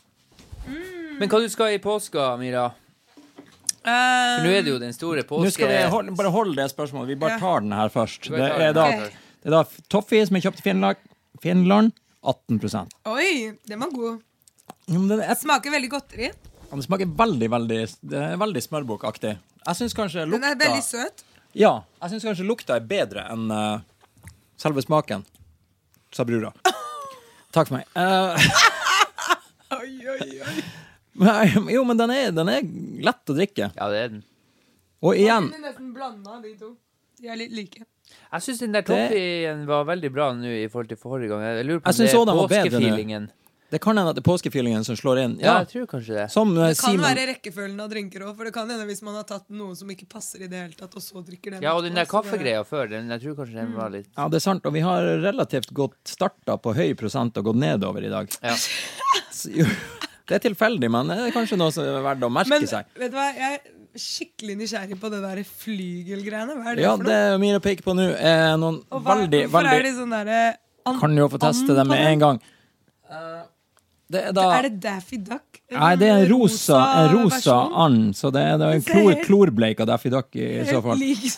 [SPEAKER 1] Men hva du skal i påska, Mira? For
[SPEAKER 3] Eh,
[SPEAKER 1] nå er det jo den store påske...
[SPEAKER 2] Nå skal vi hold, bare holde det spørsmålet. Vi bare
[SPEAKER 3] Ja.
[SPEAKER 2] tar den her først.
[SPEAKER 1] bare
[SPEAKER 2] Det
[SPEAKER 1] tar
[SPEAKER 2] er
[SPEAKER 1] den
[SPEAKER 2] da,
[SPEAKER 1] her først.
[SPEAKER 2] det er da toffee som er kjøpt i Finland, Finland 18 ja,
[SPEAKER 3] Oi, den var god.
[SPEAKER 2] men den, er,
[SPEAKER 3] Smaker veldig godteri.
[SPEAKER 2] den smaker veldig, veldig Det er veldig smørbokaktig. Jeg syns kanskje
[SPEAKER 3] Den
[SPEAKER 2] lukta
[SPEAKER 3] er veldig søt.
[SPEAKER 2] Ja, jeg synes kanskje lukta er bedre enn eh, selve smaken, sa
[SPEAKER 3] [LAUGHS]
[SPEAKER 2] brura. Takk for meg. Eh,
[SPEAKER 3] Oi, oi,
[SPEAKER 2] [LAUGHS]
[SPEAKER 3] oi.
[SPEAKER 2] men- jo, men den er, den er lett å drikke.
[SPEAKER 1] Ja, det er den.
[SPEAKER 2] Og igjen
[SPEAKER 3] Den er nesten blanda, de to. De er litt like.
[SPEAKER 1] Jeg syns den der
[SPEAKER 2] Det-
[SPEAKER 1] toffeen var veldig bra nå i forhold til forrige gang. Jeg lurer på
[SPEAKER 2] Jeg
[SPEAKER 1] om
[SPEAKER 2] synes
[SPEAKER 1] det er
[SPEAKER 2] også den var bedre nå.
[SPEAKER 1] påskefeelingen.
[SPEAKER 2] Det kan hende at det er påskefeelingen som slår inn.
[SPEAKER 1] Ja,
[SPEAKER 2] Ja,
[SPEAKER 1] jeg tror kanskje det.
[SPEAKER 2] som eh,
[SPEAKER 3] Det kan
[SPEAKER 2] Simen
[SPEAKER 3] være rekkefølgen av drinker òg, for det kan hende hvis man har tatt noe som ikke passer i det hele tatt, og så drikker den.
[SPEAKER 1] Ja, og den der
[SPEAKER 3] etterpå, så bare-
[SPEAKER 1] kaffegreia før, den, jeg tror kanskje den var litt
[SPEAKER 2] Ja, det er sant, og vi har relativt godt starta på høy prosent og gått nedover i dag.
[SPEAKER 1] Ja.
[SPEAKER 2] Så jo, [LAUGHS] Det er tilfeldig, men det er kanskje noe som er verdt å merke
[SPEAKER 3] Men
[SPEAKER 2] seg.
[SPEAKER 3] vet du hva, jeg er skikkelig nysgjerrig på det der flygelgreiene. Hva er det
[SPEAKER 2] Ja,
[SPEAKER 3] for noe?
[SPEAKER 2] det Mira peker på nå, er noen
[SPEAKER 3] og hva,
[SPEAKER 2] veldig,
[SPEAKER 3] hvorfor er
[SPEAKER 2] veldig
[SPEAKER 3] det sånn derre an-
[SPEAKER 2] Kan jo få teste
[SPEAKER 3] an
[SPEAKER 2] det
[SPEAKER 3] på
[SPEAKER 2] med en gang. Eh, Det er da
[SPEAKER 3] Er det Daffy Duck?
[SPEAKER 2] Nei, det er en rosa, en rosa
[SPEAKER 3] versjon?
[SPEAKER 2] and, så det er, det er en
[SPEAKER 3] ser
[SPEAKER 2] klor,
[SPEAKER 3] helt-
[SPEAKER 2] klorbleik av Daffy Duck i, i så
[SPEAKER 3] Helt
[SPEAKER 2] fall.
[SPEAKER 3] lik.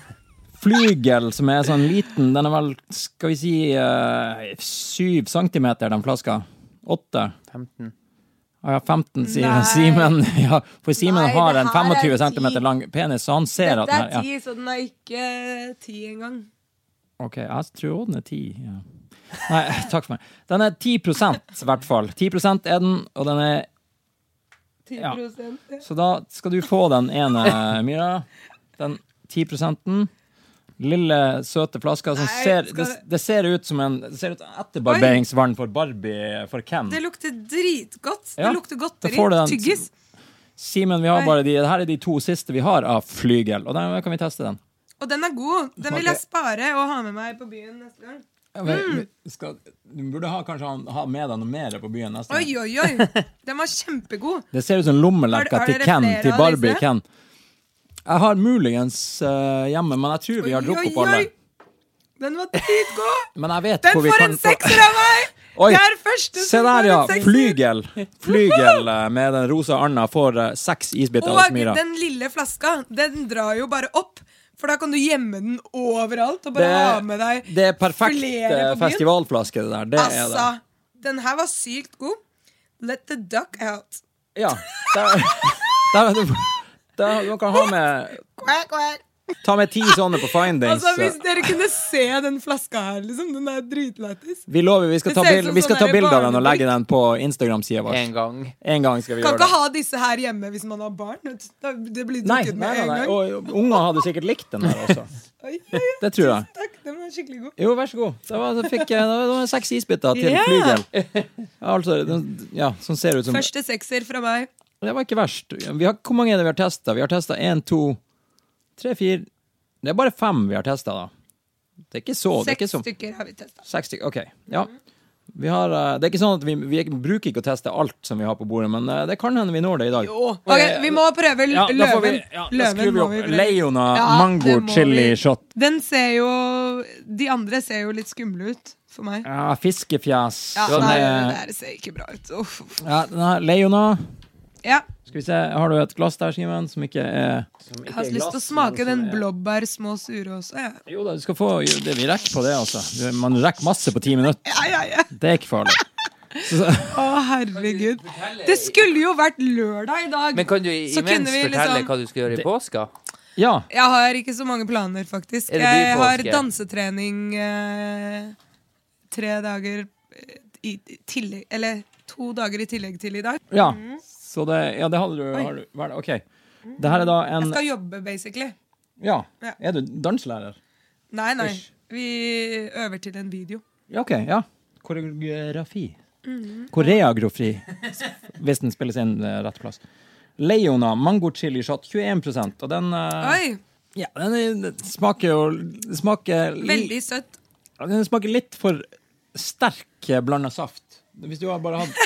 [SPEAKER 2] [LAUGHS] Flygel, som er sånn liten, den er vel, skal vi si, eh, syv centimeter, den flaska. Åtte.
[SPEAKER 1] 15.
[SPEAKER 2] Ja, 15, sier
[SPEAKER 3] Nei.
[SPEAKER 2] Simen. [LAUGHS] Ja, for Simen
[SPEAKER 3] Nei,
[SPEAKER 2] har
[SPEAKER 3] det
[SPEAKER 2] en
[SPEAKER 3] her
[SPEAKER 2] 25
[SPEAKER 3] er ti.
[SPEAKER 2] cm lang penis, så han ser at
[SPEAKER 3] Dette
[SPEAKER 2] den her
[SPEAKER 3] er
[SPEAKER 2] ja.
[SPEAKER 3] ti, så den er ikke ti engang.
[SPEAKER 2] Ok, jeg tror den er 10. Ja. Nei, [LAUGHS] takk for meg. Den er 10 i hvert fall. 10 er den, og den er
[SPEAKER 3] 10
[SPEAKER 2] Ja.
[SPEAKER 3] ja.
[SPEAKER 2] Så da skal du få den ene, Myra. Den 10 Lille, søte flaska som
[SPEAKER 3] Nei,
[SPEAKER 2] ser
[SPEAKER 3] skal
[SPEAKER 2] det,
[SPEAKER 3] det-
[SPEAKER 2] det ser ut som en det ser ut som etterbarberingsvann for Barbie for Ken.
[SPEAKER 3] Det lukter dritgodt.
[SPEAKER 2] Ja,
[SPEAKER 3] Det lukter
[SPEAKER 2] da får du
[SPEAKER 3] godteri.
[SPEAKER 2] den.
[SPEAKER 3] Tyggis.
[SPEAKER 2] Simen, vi har
[SPEAKER 3] Oi.
[SPEAKER 2] bare de, her er de to siste vi har av Flygel, og der kan vi teste den.
[SPEAKER 3] Og den er god. Den vil
[SPEAKER 2] Smaker-
[SPEAKER 3] jeg spare og ha med meg på byen neste gang.
[SPEAKER 2] Ja, men-
[SPEAKER 3] Mm.
[SPEAKER 2] men Skal, du burde ha, kanskje ha- ha med deg noe mer på byen neste
[SPEAKER 3] Oi,
[SPEAKER 2] gang.
[SPEAKER 3] oi,
[SPEAKER 2] [LAUGHS]
[SPEAKER 3] oi. Den var kjempegod.
[SPEAKER 2] Det ser ut som lommelerka
[SPEAKER 3] Har- har
[SPEAKER 2] til
[SPEAKER 3] dere
[SPEAKER 2] Ken,
[SPEAKER 3] flere
[SPEAKER 2] til
[SPEAKER 3] av
[SPEAKER 2] Barbie
[SPEAKER 3] disse?
[SPEAKER 2] Ken. Jeg har muligens eh, hjemme, men jeg tror vi har
[SPEAKER 3] Oi,
[SPEAKER 2] drukket opp
[SPEAKER 3] oi,
[SPEAKER 2] alle.
[SPEAKER 3] oi. Den var dritgod!
[SPEAKER 2] Men jeg vet
[SPEAKER 3] Den
[SPEAKER 2] hvor vi
[SPEAKER 3] får
[SPEAKER 2] kan
[SPEAKER 3] en sekser av meg!
[SPEAKER 2] Oi,
[SPEAKER 3] Jeg er første
[SPEAKER 2] Se
[SPEAKER 3] som
[SPEAKER 2] der,
[SPEAKER 3] får
[SPEAKER 2] ja!
[SPEAKER 3] en sekser.
[SPEAKER 2] Flygel. Flygel eh, med den rosa anda får eh, seks isbiter av
[SPEAKER 3] Og
[SPEAKER 2] Smira.
[SPEAKER 3] den lille flaska, den drar jo bare opp. For da kan du gjemme den overalt
[SPEAKER 2] Det,
[SPEAKER 3] og bare ha med deg
[SPEAKER 2] det er perfekt
[SPEAKER 3] flere
[SPEAKER 2] eh,
[SPEAKER 3] på byen.
[SPEAKER 2] festivalflaske, det der. Det er
[SPEAKER 3] Altså,
[SPEAKER 2] det.
[SPEAKER 3] den her var sykt god. Let the duck out.
[SPEAKER 2] Ja. Der, der, der, dere ha med
[SPEAKER 3] Quack, quack.
[SPEAKER 2] Ta med ti sånne på findings. eh,
[SPEAKER 3] Altså, hvis dere kunne se den flaska her, liksom. Den er dritlættis.
[SPEAKER 2] Vi lover vi skal
[SPEAKER 3] Det
[SPEAKER 2] ta,
[SPEAKER 3] ser ut
[SPEAKER 2] bil-
[SPEAKER 3] som
[SPEAKER 2] vi skal
[SPEAKER 3] sånn
[SPEAKER 2] ta
[SPEAKER 3] der
[SPEAKER 2] bilde av den og
[SPEAKER 3] barnebrikk.
[SPEAKER 2] legge den på Instagram-sida vår.
[SPEAKER 1] En gang.
[SPEAKER 2] En gang skal vi
[SPEAKER 3] Kan
[SPEAKER 2] gjøre
[SPEAKER 3] ikke
[SPEAKER 2] det.
[SPEAKER 3] ha disse her hjemme hvis man har barn. vet du. Da- Det blir
[SPEAKER 2] Nei, nei,
[SPEAKER 3] drukket med
[SPEAKER 2] nei,
[SPEAKER 3] en
[SPEAKER 2] nei.
[SPEAKER 3] gang.
[SPEAKER 2] Og unger hadde sikkert likt den her også. [LAUGHS]
[SPEAKER 3] Oi, oi, oi.
[SPEAKER 2] Det tror jeg.
[SPEAKER 3] Takk, den var skikkelig god.
[SPEAKER 2] Jo, vær så god. Da, var, da fikk jeg da, da var det seks isbiter til
[SPEAKER 3] Ja.
[SPEAKER 2] flygel. Altså, den- ja, sånn ser det ut som
[SPEAKER 3] Første sekser fra meg.
[SPEAKER 2] Det var ikke verst. Vi har, hvor mange er det vi har testa? Vi har testa én, to, tre, fire Det er bare fem vi har testa, da. Det er ikke så det er
[SPEAKER 3] Seks
[SPEAKER 2] ikke så,
[SPEAKER 3] stykker har vi testa.
[SPEAKER 2] Seks stykker. Ok. Ja. Vi har, eh, det er ikke sånn at vi, vi bruker ikke å teste alt som vi har på bordet, men eh, det kan hende vi når det i dag.
[SPEAKER 3] Ok, vi må prøve l-
[SPEAKER 2] Ja, da får vi,
[SPEAKER 3] løven.
[SPEAKER 2] ja, da skrur
[SPEAKER 3] Løven
[SPEAKER 2] vi
[SPEAKER 3] må
[SPEAKER 2] opp.
[SPEAKER 3] vi prøve.
[SPEAKER 2] Leona
[SPEAKER 3] Ja,
[SPEAKER 2] mango
[SPEAKER 3] det må
[SPEAKER 2] chili
[SPEAKER 3] vi.
[SPEAKER 2] shot.
[SPEAKER 3] Den ser jo De andre ser jo litt skumle ut for meg.
[SPEAKER 2] Ja, fiskefjes.
[SPEAKER 3] Ja,
[SPEAKER 2] Sånn,
[SPEAKER 3] nei,
[SPEAKER 2] eh,
[SPEAKER 3] det her ser ikke bra ut. Uff, uff.
[SPEAKER 2] ja, den her, Leona.
[SPEAKER 3] Ja,
[SPEAKER 2] Skal vi se, har du et glass der, Simen, som ikke er
[SPEAKER 3] jeg har så lyst til å smake den blåbær små sure også. Ja.
[SPEAKER 2] Jo da, du skal få jo, det, Vi rekker på det, altså. Du- Man rekker masse på ti minutter.
[SPEAKER 3] Ja, ja, ja.
[SPEAKER 2] Det er ikke farlig.
[SPEAKER 3] Å, herregud. Det skulle jo vært lørdag i dag.
[SPEAKER 1] Men kan du
[SPEAKER 3] Så kunne
[SPEAKER 1] imens
[SPEAKER 3] vi
[SPEAKER 1] fortelle
[SPEAKER 3] liksom-
[SPEAKER 1] hva du skal gjøre i påska?
[SPEAKER 2] Ja.
[SPEAKER 3] Jeg har ikke så mange planer, faktisk.
[SPEAKER 1] Er det
[SPEAKER 3] Jeg har
[SPEAKER 1] bypåske?
[SPEAKER 3] dansetrening eh, tre dager eh, i i tillegg Eller to dager i tillegg til i dag.
[SPEAKER 2] ja. Så det, ja, det hadde du, har du hva er det? OK. Det her er da
[SPEAKER 3] Jeg
[SPEAKER 2] en
[SPEAKER 3] skal jobbe, basically.
[SPEAKER 2] Ja.
[SPEAKER 3] Ja.
[SPEAKER 2] Er du danselærer?
[SPEAKER 3] Nei, nei.
[SPEAKER 2] Ish.
[SPEAKER 3] Vi øver til en video.
[SPEAKER 2] Ja, OK. Ja. Koreografi.
[SPEAKER 3] Mm.
[SPEAKER 2] Koreografi. Hvis den spilles inn eh, rett plass. Leona mango chili shot 21 og den, eh,
[SPEAKER 3] Oi!
[SPEAKER 2] ja, den er- den smaker jo den smaker li-
[SPEAKER 3] Veldig søtt.
[SPEAKER 2] Ja, Den smaker litt for sterk blanda saft. Hvis du har bare hatt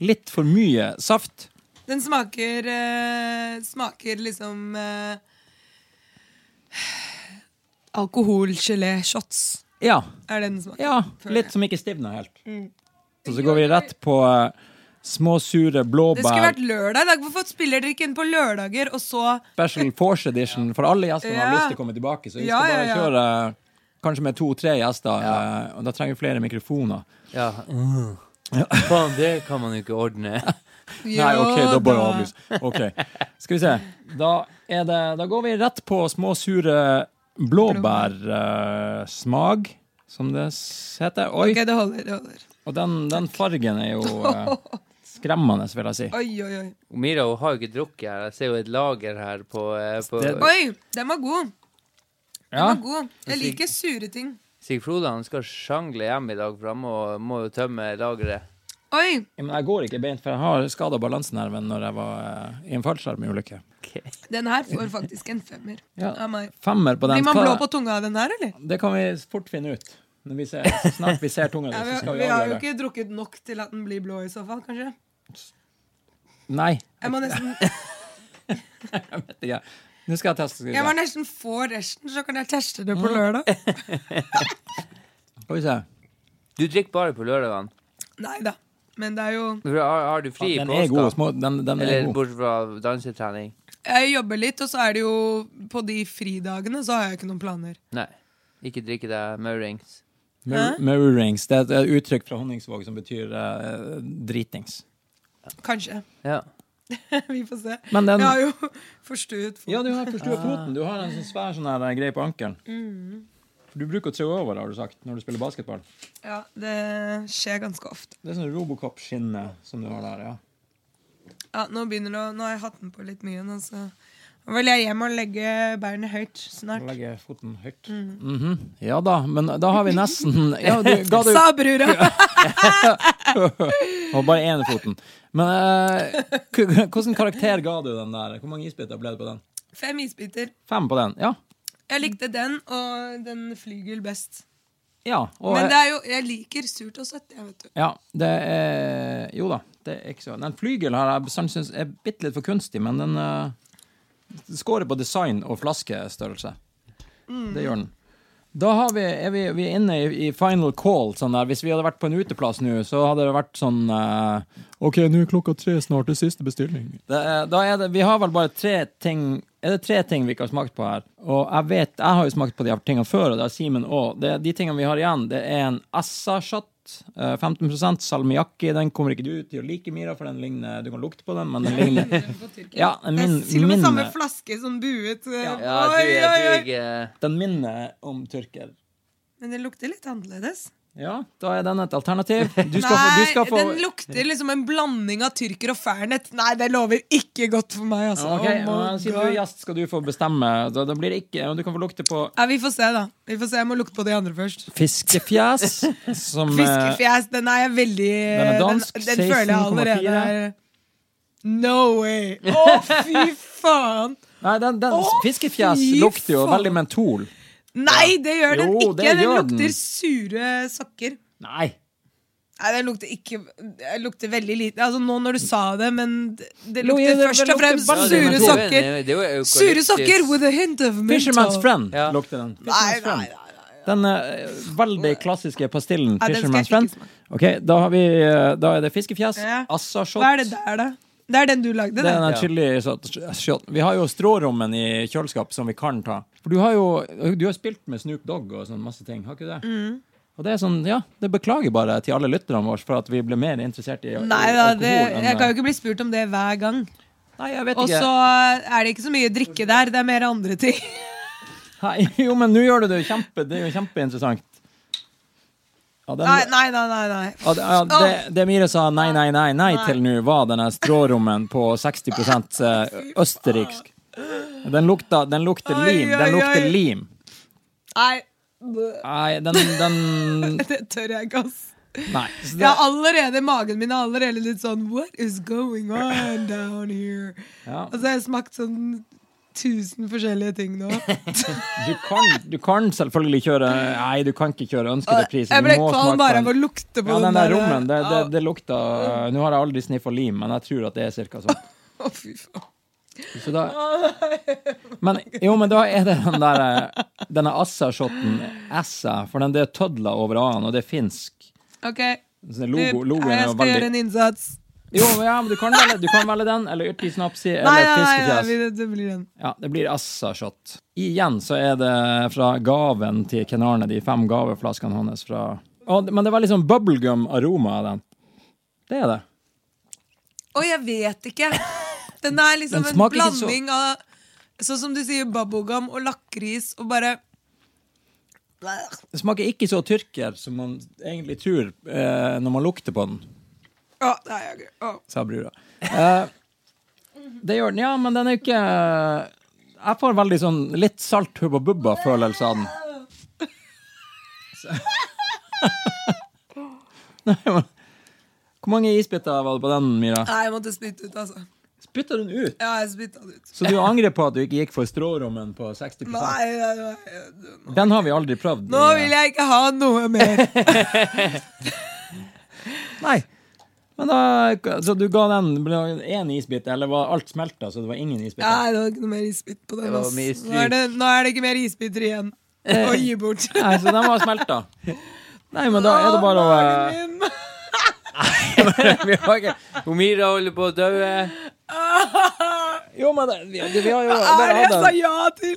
[SPEAKER 2] litt for mye saft
[SPEAKER 3] Den smaker eh, Smaker liksom eh, Alkoholgelé-shots
[SPEAKER 2] Ja.
[SPEAKER 3] er det den smaker.
[SPEAKER 2] ja
[SPEAKER 3] føler
[SPEAKER 2] litt
[SPEAKER 3] jeg.
[SPEAKER 2] som ikke stivner helt.
[SPEAKER 3] Mm.
[SPEAKER 2] Og så går vi rett på eh, små, sure
[SPEAKER 3] Det skulle
[SPEAKER 2] blåbær
[SPEAKER 3] vært lørdag. i dag. Hvorfor spiller dere ikke inn på lørdager, og så
[SPEAKER 2] special force edition for alle gjestene har
[SPEAKER 3] Ja.
[SPEAKER 2] lyst til å komme tilbake. Så vi
[SPEAKER 3] Ja,
[SPEAKER 2] skal bare
[SPEAKER 3] ja, ja.
[SPEAKER 2] kjøre eh, kanskje med to-tre gjester, eh, og da trenger vi flere mikrofoner.
[SPEAKER 1] Ja.
[SPEAKER 2] Mm.
[SPEAKER 1] Faen, det kan man jo ikke ordne. [LAUGHS]
[SPEAKER 2] Nei, OK, da bare
[SPEAKER 3] da.
[SPEAKER 2] avlys. Ok, Skal vi se. Da, er det, da går vi rett på små, sure blåbærsmag, som det s- heter. Oi.
[SPEAKER 3] Ok, det holder. det holder
[SPEAKER 2] Og den, den fargen er jo eh, skremmende, vil jeg si.
[SPEAKER 3] Oi, oi, oi.
[SPEAKER 1] Mira hun har jo ikke drukket her. Jeg ser jo et lager her på, eh, på
[SPEAKER 2] Det-
[SPEAKER 3] Oi, den var god. Den
[SPEAKER 2] Ja.
[SPEAKER 3] var god. Jeg liker sure ting.
[SPEAKER 1] Sigfrode han skal sjangle hjem i dag, for han må, må jo tømme lageret.
[SPEAKER 3] Oi!
[SPEAKER 2] Men jeg går ikke beint, for jeg har skada balansenerven når jeg var eh, i en fallskjermulykke.
[SPEAKER 3] Den her får faktisk en femmer
[SPEAKER 2] Ja.
[SPEAKER 3] av meg.
[SPEAKER 2] Femmer på den.
[SPEAKER 3] Blir man blå
[SPEAKER 2] Hva-
[SPEAKER 3] på tunga av den her, eller?
[SPEAKER 2] Det kan vi fort finne ut. Når vi ser, så snart vi ser tunga di,
[SPEAKER 3] Ja,
[SPEAKER 2] så
[SPEAKER 3] vi,
[SPEAKER 2] skal vi
[SPEAKER 3] vi har jo
[SPEAKER 2] avgjøre det.
[SPEAKER 3] ikke drukket nok til at den blir blå, i så fall. kanskje
[SPEAKER 2] Nei.
[SPEAKER 3] Jeg, må nesten,
[SPEAKER 2] vet ikke. Nå skal jeg teste. Skal vi
[SPEAKER 3] jeg var
[SPEAKER 2] se.
[SPEAKER 3] nesten få resten, så kan jeg teste det på
[SPEAKER 2] Mm. [LAUGHS]
[SPEAKER 3] lørdag.
[SPEAKER 2] Skal vi se.
[SPEAKER 1] Du drikker bare på lørdagene.
[SPEAKER 3] Nei da. Men det er jo
[SPEAKER 1] For Har, har du fri i
[SPEAKER 2] Den er god.
[SPEAKER 1] påska?
[SPEAKER 2] Små, den, den er
[SPEAKER 1] Eller
[SPEAKER 2] god.
[SPEAKER 1] bortsett fra dansetrening?
[SPEAKER 3] Jeg jobber litt, og så er det jo På de fridagene så har jeg ikke noen planer.
[SPEAKER 1] Nei. Ikke drikke deg maurings.
[SPEAKER 2] Mirror- Mirror rings. Det er et- et uttrykk fra Honningsvåg som betyr eh, dritings.
[SPEAKER 3] Kanskje. [LAUGHS]
[SPEAKER 1] Ja.
[SPEAKER 3] Vi får se.
[SPEAKER 2] Men den
[SPEAKER 3] Jeg har jo [LAUGHS] forstuet fot.
[SPEAKER 2] Ja, du har
[SPEAKER 1] Ah.
[SPEAKER 2] forstua foten. Du har en sånn svær sånn her eh, greie på ankelen.
[SPEAKER 3] Mm.
[SPEAKER 2] For du bruker å trå over, har du sagt, når du spiller basketball.
[SPEAKER 3] Ja, det skjer ganske ofte.
[SPEAKER 2] Det er sånn Robocop-skinne som du har der, ja.
[SPEAKER 3] Ja, Nå begynner det å Nå har jeg hatt den på litt mye. Nå, så nå vil jeg hjem og legge beinet høyt snart.
[SPEAKER 2] Legge foten høyt.
[SPEAKER 3] Mm.
[SPEAKER 2] Mhm. Ja da, men da har vi
[SPEAKER 3] [LAUGHS]
[SPEAKER 2] nesten ja, du, Ga du
[SPEAKER 3] Sa [LAUGHS] brura!
[SPEAKER 2] Og bare én foten. Men eh, k- k- hvordan karakter ga du den der? Hvor mange isbiter ble det på den?
[SPEAKER 3] Fem isbiter.
[SPEAKER 2] Fem på den, ja.
[SPEAKER 3] Jeg likte den og den flygel best.
[SPEAKER 2] Ja, og, eh,
[SPEAKER 3] Men det er jo, jeg liker surt og søtt. Jeg vet du.
[SPEAKER 2] ja det er Jo da, det er ikke så Den flygel har jeg bestandig syntes er bitte litt for kunstig, men den eh, scorer på design og flaskestørrelse. Det gjør den. Da har vi, er vi, vi er inne i, i final call. Sånn der. Hvis vi hadde vært på en uteplass nå, så hadde det vært sånn eh, OK, nå er klokka tre snart, det er siste bestilling. Det, er- da er det, vi har vel bare tre ting er det tre ting vi ikke har smakt på her. Og jeg vet, jeg har jo smakt på de her tingene før, og det har Simen òg. Det- De tingene vi har igjen, det er en Assa-shot. eh, 15 salmiakki. Den kommer ikke du til å like, Mira, for den ligner Du kan lukte på den, men den
[SPEAKER 3] [LAUGHS]
[SPEAKER 2] ligner Ja, den
[SPEAKER 3] Det er
[SPEAKER 2] min,
[SPEAKER 3] til og med samme
[SPEAKER 2] minner-
[SPEAKER 3] flaske som buet. eh,
[SPEAKER 1] Ja, du er,
[SPEAKER 3] oi, oi,
[SPEAKER 1] du er
[SPEAKER 3] oi.
[SPEAKER 1] ikke
[SPEAKER 2] Den minner om tyrker.
[SPEAKER 3] Men den lukter litt annerledes.
[SPEAKER 2] Ja, da er den et alternativ. Du skal få, du
[SPEAKER 3] Nei,
[SPEAKER 2] skal få
[SPEAKER 3] den lukter liksom en blanding av tyrker og fernet. Nei, det lover ikke godt for meg, altså.
[SPEAKER 2] Ok,
[SPEAKER 3] Oh my
[SPEAKER 2] men Siden du er
[SPEAKER 3] God.
[SPEAKER 2] gjest, skal du få bestemme. Da, da blir det ikke og Du kan få lukte på
[SPEAKER 3] ja, vi får se, da. Vi får se, Jeg må lukte på de andre først.
[SPEAKER 2] fiskefjes.
[SPEAKER 3] [LAUGHS]
[SPEAKER 2] Som, eh,
[SPEAKER 3] Fiskefjes, den er jeg veldig
[SPEAKER 2] Den er dansk,
[SPEAKER 3] Den, den føler jeg allerede
[SPEAKER 2] 16,4.
[SPEAKER 3] er No way! Å, fy faen!
[SPEAKER 2] Nei, den, den,
[SPEAKER 3] Å,
[SPEAKER 2] fiskefjes
[SPEAKER 3] fy
[SPEAKER 2] lukter jo
[SPEAKER 3] faen.
[SPEAKER 2] veldig mentol.
[SPEAKER 3] Nei, det gjør den
[SPEAKER 2] Jo,
[SPEAKER 3] ikke!
[SPEAKER 2] det
[SPEAKER 3] den
[SPEAKER 2] gjør den.
[SPEAKER 3] lukter sure sokker.
[SPEAKER 2] Nei.
[SPEAKER 3] Nei, den lukter ikke Den lukter veldig lite Altså, nå når du sa det, men det, det
[SPEAKER 2] Jo,
[SPEAKER 3] lukter
[SPEAKER 2] ja, det- det
[SPEAKER 3] først og
[SPEAKER 2] lukter
[SPEAKER 3] fremst
[SPEAKER 2] veldig
[SPEAKER 3] sure
[SPEAKER 2] mentol.
[SPEAKER 3] sokker. Sure sokker
[SPEAKER 1] [LAUGHS]
[SPEAKER 3] with a hint of menthol.
[SPEAKER 2] Fisherman's Friend
[SPEAKER 1] Ja.
[SPEAKER 2] lukter den.
[SPEAKER 3] Nei, nei, nei.
[SPEAKER 2] Den eh, veldig klassiske pastillen
[SPEAKER 3] Ja, den skal jeg
[SPEAKER 2] Fisherman's Friend.
[SPEAKER 3] ikke
[SPEAKER 2] Ok, da, har vi, eh, da er det fiskefjes,
[SPEAKER 3] Ja.
[SPEAKER 2] assashot
[SPEAKER 3] Hva er det der, da? Det er den du lagde,
[SPEAKER 2] Det er
[SPEAKER 3] det.
[SPEAKER 2] den
[SPEAKER 1] Ja.
[SPEAKER 2] chili shot- shot. Vi har jo strårommen i kjøleskap som vi kan ta. For du har jo du har spilt med Snoop Dogg og sånn masse ting, har ikke du det?
[SPEAKER 3] Mm.
[SPEAKER 2] Og det er sånn, ja, det beklager bare til alle lytterne våre for at vi ble mer interessert i, i
[SPEAKER 3] Nei da,
[SPEAKER 2] alkohol.
[SPEAKER 3] det,
[SPEAKER 2] enn- eh,
[SPEAKER 3] jeg kan jo ikke bli spurt om det hver gang.
[SPEAKER 2] Nei, jeg vet
[SPEAKER 3] Og
[SPEAKER 2] ikke.
[SPEAKER 3] så er det ikke så mye drikke der, det er mer
[SPEAKER 2] [LAUGHS]
[SPEAKER 3] andre ting.
[SPEAKER 2] Hei, [LAUGHS] jo, men nå gjør du det jo kjempe, det er jo kjempeinteressant. Ja, den,
[SPEAKER 3] Nei, nei, nei. nei, nei.
[SPEAKER 2] Ja, det, ja, det, det Mire sa nei, nei, nei, nei til nå, var denne strårommen på 60 eh, østerriksk. Den lukta, den lukter
[SPEAKER 3] Oi,
[SPEAKER 2] lim.
[SPEAKER 3] oi,
[SPEAKER 2] Den lukter
[SPEAKER 3] oi.
[SPEAKER 2] lim.
[SPEAKER 3] nei. [LAUGHS]
[SPEAKER 2] Nei, den, den
[SPEAKER 3] Det tør jeg ikke, ass. [LAUGHS]
[SPEAKER 2] Nei. Så
[SPEAKER 3] Jeg
[SPEAKER 2] det,
[SPEAKER 3] har allerede, Magen min er allerede litt sånn What is going on down here?
[SPEAKER 2] ja,
[SPEAKER 3] Altså, jeg har smakt sånn tusen forskjellige ting [LAUGHS] nå.
[SPEAKER 2] du, kan, du kan selvfølgelig kjøre Nei, du kan ikke kjøre ønskede priser.
[SPEAKER 3] Jeg
[SPEAKER 2] Du
[SPEAKER 3] ble
[SPEAKER 2] må
[SPEAKER 3] kvalm
[SPEAKER 2] smake
[SPEAKER 3] bare
[SPEAKER 2] den.
[SPEAKER 3] av å lukte på eh,
[SPEAKER 2] ja, den der rommen, det, det,
[SPEAKER 3] Au.
[SPEAKER 2] det lukta eh, Nå har jeg aldri sniffa lim, men jeg tror at det er cirka sånn.
[SPEAKER 3] Å, fy faen.
[SPEAKER 2] Så da, men, jo, men da er det den der, eh, denne Assa-shotten, Assa, for den det er tødler over a-en, og det er finsk.
[SPEAKER 3] Ok,
[SPEAKER 2] Så det er
[SPEAKER 3] du,
[SPEAKER 2] logo, logoen er
[SPEAKER 3] jeg
[SPEAKER 2] jo
[SPEAKER 3] skal gjøre
[SPEAKER 2] veldig
[SPEAKER 3] en innsats.
[SPEAKER 2] Jo, men ja, men du kan velge, du kan velge den, eller Yrti Snapsi,
[SPEAKER 3] Nei,
[SPEAKER 2] eller
[SPEAKER 3] nei, nei, nei,
[SPEAKER 2] Fiskefjes.
[SPEAKER 3] vi- det blir den.
[SPEAKER 2] Ja, det blir Assa-shot. Igjen så er det fra gaven til Ken Arne, de fem gaveflaskene hans fra og, Men det var liksom bubblegum-aroma av den. Det er det.
[SPEAKER 3] Å, jeg vet ikke. Den er liksom
[SPEAKER 2] Den
[SPEAKER 3] en
[SPEAKER 2] smaker ikke så-
[SPEAKER 3] blanding av Sånn som du sier, bubblegum og lakris og bare
[SPEAKER 2] Det smaker ikke så tyrker som man egentlig tror eh, når man lukter på den.
[SPEAKER 3] Å, nei, jeg, å.
[SPEAKER 2] sa brura. Eh, det gjør den, ja, men den er jo ikke Jeg får veldig sånn litt salt Hubba Bubba-følelse av den. Så- [LAUGHS] Nei, men Hvor mange isbiter var det på den, Mira?
[SPEAKER 3] nei, jeg måtte spytte ut, altså.
[SPEAKER 2] Spytta den ut?
[SPEAKER 3] Ja, jeg spytta den ut.
[SPEAKER 2] Så du angrer på at du ikke gikk for strårommen på 60
[SPEAKER 3] Nei, nei, nei, nei.
[SPEAKER 2] Den har vi aldri prøvd.
[SPEAKER 3] Nå vil jeg ikke ha noe mer.
[SPEAKER 2] Nei. Men da, så du ga den én isbit, eller var alt smelta, så det var ingen isbiter?
[SPEAKER 3] Nei, det var ikke noe mer isbit på den.
[SPEAKER 1] Det var
[SPEAKER 3] ass.
[SPEAKER 1] mye
[SPEAKER 3] Nå er det, nå er det ikke mer isbiter igjen
[SPEAKER 2] Eh.
[SPEAKER 3] å gi bort.
[SPEAKER 2] Nei, så den var smelta. Nei, men da er det bare å eh,
[SPEAKER 3] Magen min.
[SPEAKER 2] vi har ikke-
[SPEAKER 1] Omira holder på å dø.
[SPEAKER 2] Jo, men det, vi, vi
[SPEAKER 3] [LAUGHS]
[SPEAKER 2] har jo
[SPEAKER 3] Hva er
[SPEAKER 2] bare
[SPEAKER 3] det jeg
[SPEAKER 2] hatt
[SPEAKER 3] sa
[SPEAKER 2] en
[SPEAKER 3] ja til?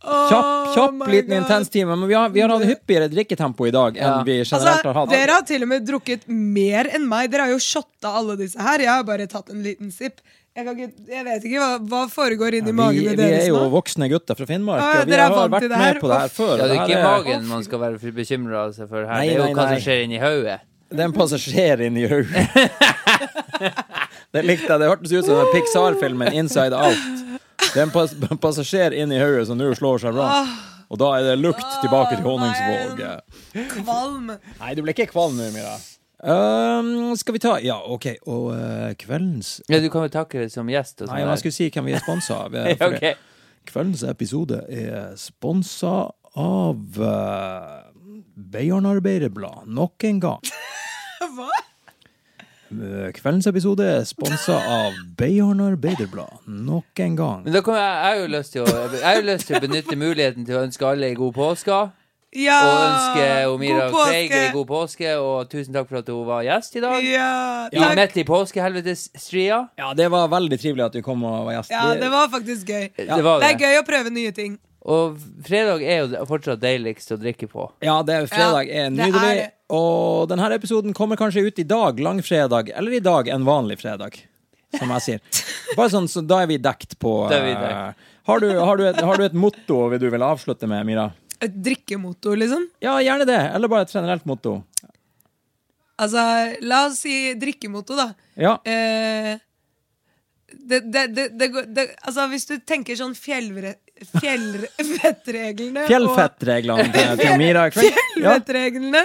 [SPEAKER 3] Å,
[SPEAKER 2] kjapp, kjapp
[SPEAKER 3] my
[SPEAKER 2] liten
[SPEAKER 3] God.
[SPEAKER 2] intens time, men vi har, vi har hatt hyppigere drikketempo i dag
[SPEAKER 1] Ja.
[SPEAKER 2] enn vi generelt har
[SPEAKER 3] Altså,
[SPEAKER 2] hatt.
[SPEAKER 3] dere har til og med drukket mer enn meg. Dere har jo shotta alle disse her. Jeg har bare tatt en liten sipp. Jeg, kan ikke, jeg vet ikke hva, hva foregår inni
[SPEAKER 2] Vi,
[SPEAKER 3] magene
[SPEAKER 2] vi er
[SPEAKER 3] deres
[SPEAKER 2] jo
[SPEAKER 3] nå.
[SPEAKER 2] voksne gutter fra Finnmark,
[SPEAKER 3] Ja, ja,
[SPEAKER 2] og vi
[SPEAKER 3] dere er
[SPEAKER 2] har
[SPEAKER 3] vant
[SPEAKER 2] vært
[SPEAKER 3] til det
[SPEAKER 2] med
[SPEAKER 3] her.
[SPEAKER 2] på det her
[SPEAKER 3] Uff.
[SPEAKER 2] før.
[SPEAKER 1] Ja, det er
[SPEAKER 2] og
[SPEAKER 1] ikke
[SPEAKER 2] her
[SPEAKER 1] magen man skal være bekymra seg for her.
[SPEAKER 2] Nei,
[SPEAKER 1] Det er
[SPEAKER 2] nei,
[SPEAKER 1] jo hva
[SPEAKER 2] nei.
[SPEAKER 1] som skjer inni hodet.
[SPEAKER 2] det er en passasjer inni hodet. det likte jeg. Det hørtes ut som den Pixar-filmen 'Inside Out'. Det er en pass passasjer inni hodet som nå slår seg bra. Og da er det lukt tilbake til
[SPEAKER 3] Åh, nei.
[SPEAKER 2] Honningsvåg.
[SPEAKER 3] Kvalm. [LAUGHS]
[SPEAKER 2] Nei, du ble ikke kvalm nå, Mira. skal vi ta Ja, OK. Og eh, kveldens
[SPEAKER 1] Ja, du kan jo takke det som gjest.
[SPEAKER 2] Nei,
[SPEAKER 1] og sånn
[SPEAKER 2] men
[SPEAKER 1] der.
[SPEAKER 2] jeg
[SPEAKER 1] [LAUGHS]
[SPEAKER 2] skulle si hvem vi er sponsa av. [LAUGHS] eh,
[SPEAKER 1] Ja,
[SPEAKER 2] for det.
[SPEAKER 1] ok.
[SPEAKER 2] Kveldens episode er sponsa av uh, Beiarnarbeiderblad, nok en gang.
[SPEAKER 3] Hva?
[SPEAKER 2] Eh, Kveldens episode er sponsa av Beiarnarbeiderblad, nok en gang.
[SPEAKER 1] Men da kommer jeg, jeg, har jo lyst til å, jeg har jo lyst til å benytte muligheten til å ønske alle ei god påske.
[SPEAKER 3] Ja!
[SPEAKER 1] Og
[SPEAKER 2] Ah,
[SPEAKER 1] ønsker Omira
[SPEAKER 3] God
[SPEAKER 1] Craig
[SPEAKER 3] påske.
[SPEAKER 1] ei god påske, og tusen takk for at hun var gjest i dag.
[SPEAKER 3] Ja,
[SPEAKER 1] I
[SPEAKER 3] takk.
[SPEAKER 1] midt i påskehelvetesstria.
[SPEAKER 2] Ja, det var veldig trivelig at du kom og var gjest.
[SPEAKER 3] ja, det var faktisk gøy.
[SPEAKER 1] Det var
[SPEAKER 3] Det er
[SPEAKER 1] det.
[SPEAKER 3] gøy å prøve nye ting.
[SPEAKER 1] Og fredag er jo fortsatt deiligst å drikke på.
[SPEAKER 2] Ja, det er fredag
[SPEAKER 3] Ja,
[SPEAKER 2] er
[SPEAKER 3] det er
[SPEAKER 2] nydelig.
[SPEAKER 3] det.
[SPEAKER 2] Og denne episoden kommer kanskje ut i dag, langfredag, eller i dag en vanlig fredag. Som jeg [LAUGHS] sier. Bare sånn, så Da er vi dekt på
[SPEAKER 1] Da er vi
[SPEAKER 2] eh,
[SPEAKER 1] dekt.
[SPEAKER 2] har, du, har, du et, har du et motto vil du vil avslutte med, Mira?
[SPEAKER 3] Et drikkemotor, liksom.
[SPEAKER 2] Ja, gjerne det. Eller bare et generelt motto.
[SPEAKER 3] Altså, la oss si drikkemotor, da.
[SPEAKER 2] Ja.
[SPEAKER 3] Eh, det, det, det, det, går- det, altså, hvis du tenker sånn fjellre,
[SPEAKER 2] [LAUGHS]
[SPEAKER 3] fjellvettreglene og-
[SPEAKER 2] Fjellfettreglene til, til Mira. Ja,
[SPEAKER 3] Fjellvettreglene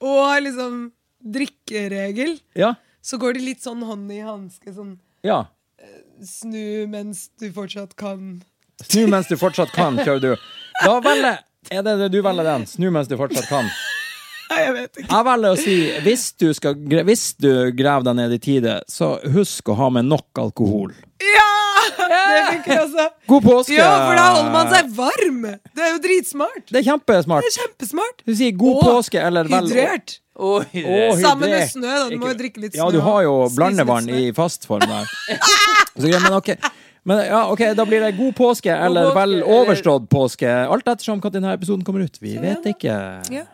[SPEAKER 3] og liksom drikkeregel,
[SPEAKER 2] ja,
[SPEAKER 3] så går de litt sånn hånd i hanske. Sånn
[SPEAKER 2] ja.
[SPEAKER 3] snu mens du fortsatt kan. [LAUGHS]
[SPEAKER 2] Snu mens du fortsatt kan, kjører du. Da velger er det det du velger den. Snu mens du fortsatt kan.
[SPEAKER 3] Nei, jeg vet ikke.
[SPEAKER 2] Jeg velger å si hvis du, skal, gre- hvis du graver deg ned i tide, så husk å ha med nok alkohol.
[SPEAKER 3] Ja! Det funker også.
[SPEAKER 2] God påske!
[SPEAKER 3] Ja, for da holder man seg varm. Det er jo dritsmart.
[SPEAKER 2] Det er
[SPEAKER 3] Det er
[SPEAKER 2] kjempesmart.
[SPEAKER 3] kjempesmart.
[SPEAKER 2] Du sier god
[SPEAKER 3] Og
[SPEAKER 2] påske eller vel
[SPEAKER 3] Hydrert.
[SPEAKER 1] Oi,
[SPEAKER 2] Å,
[SPEAKER 1] det-
[SPEAKER 3] Sammen med
[SPEAKER 2] hydrert.
[SPEAKER 3] snø, da. Du må jo
[SPEAKER 2] Ikke-
[SPEAKER 3] drikke litt
[SPEAKER 2] Ja,
[SPEAKER 3] snø
[SPEAKER 2] du har jo
[SPEAKER 3] og spise litt
[SPEAKER 2] blandevann
[SPEAKER 3] snø.
[SPEAKER 2] i fast form der. Så greit, men ok. Men ja, ok, Da blir det god påske eller
[SPEAKER 1] påske,
[SPEAKER 2] vel
[SPEAKER 1] eller-
[SPEAKER 2] overstått påske, alt ettersom hva denne episoden kommer ut. Vi vet ikke.
[SPEAKER 3] Ja.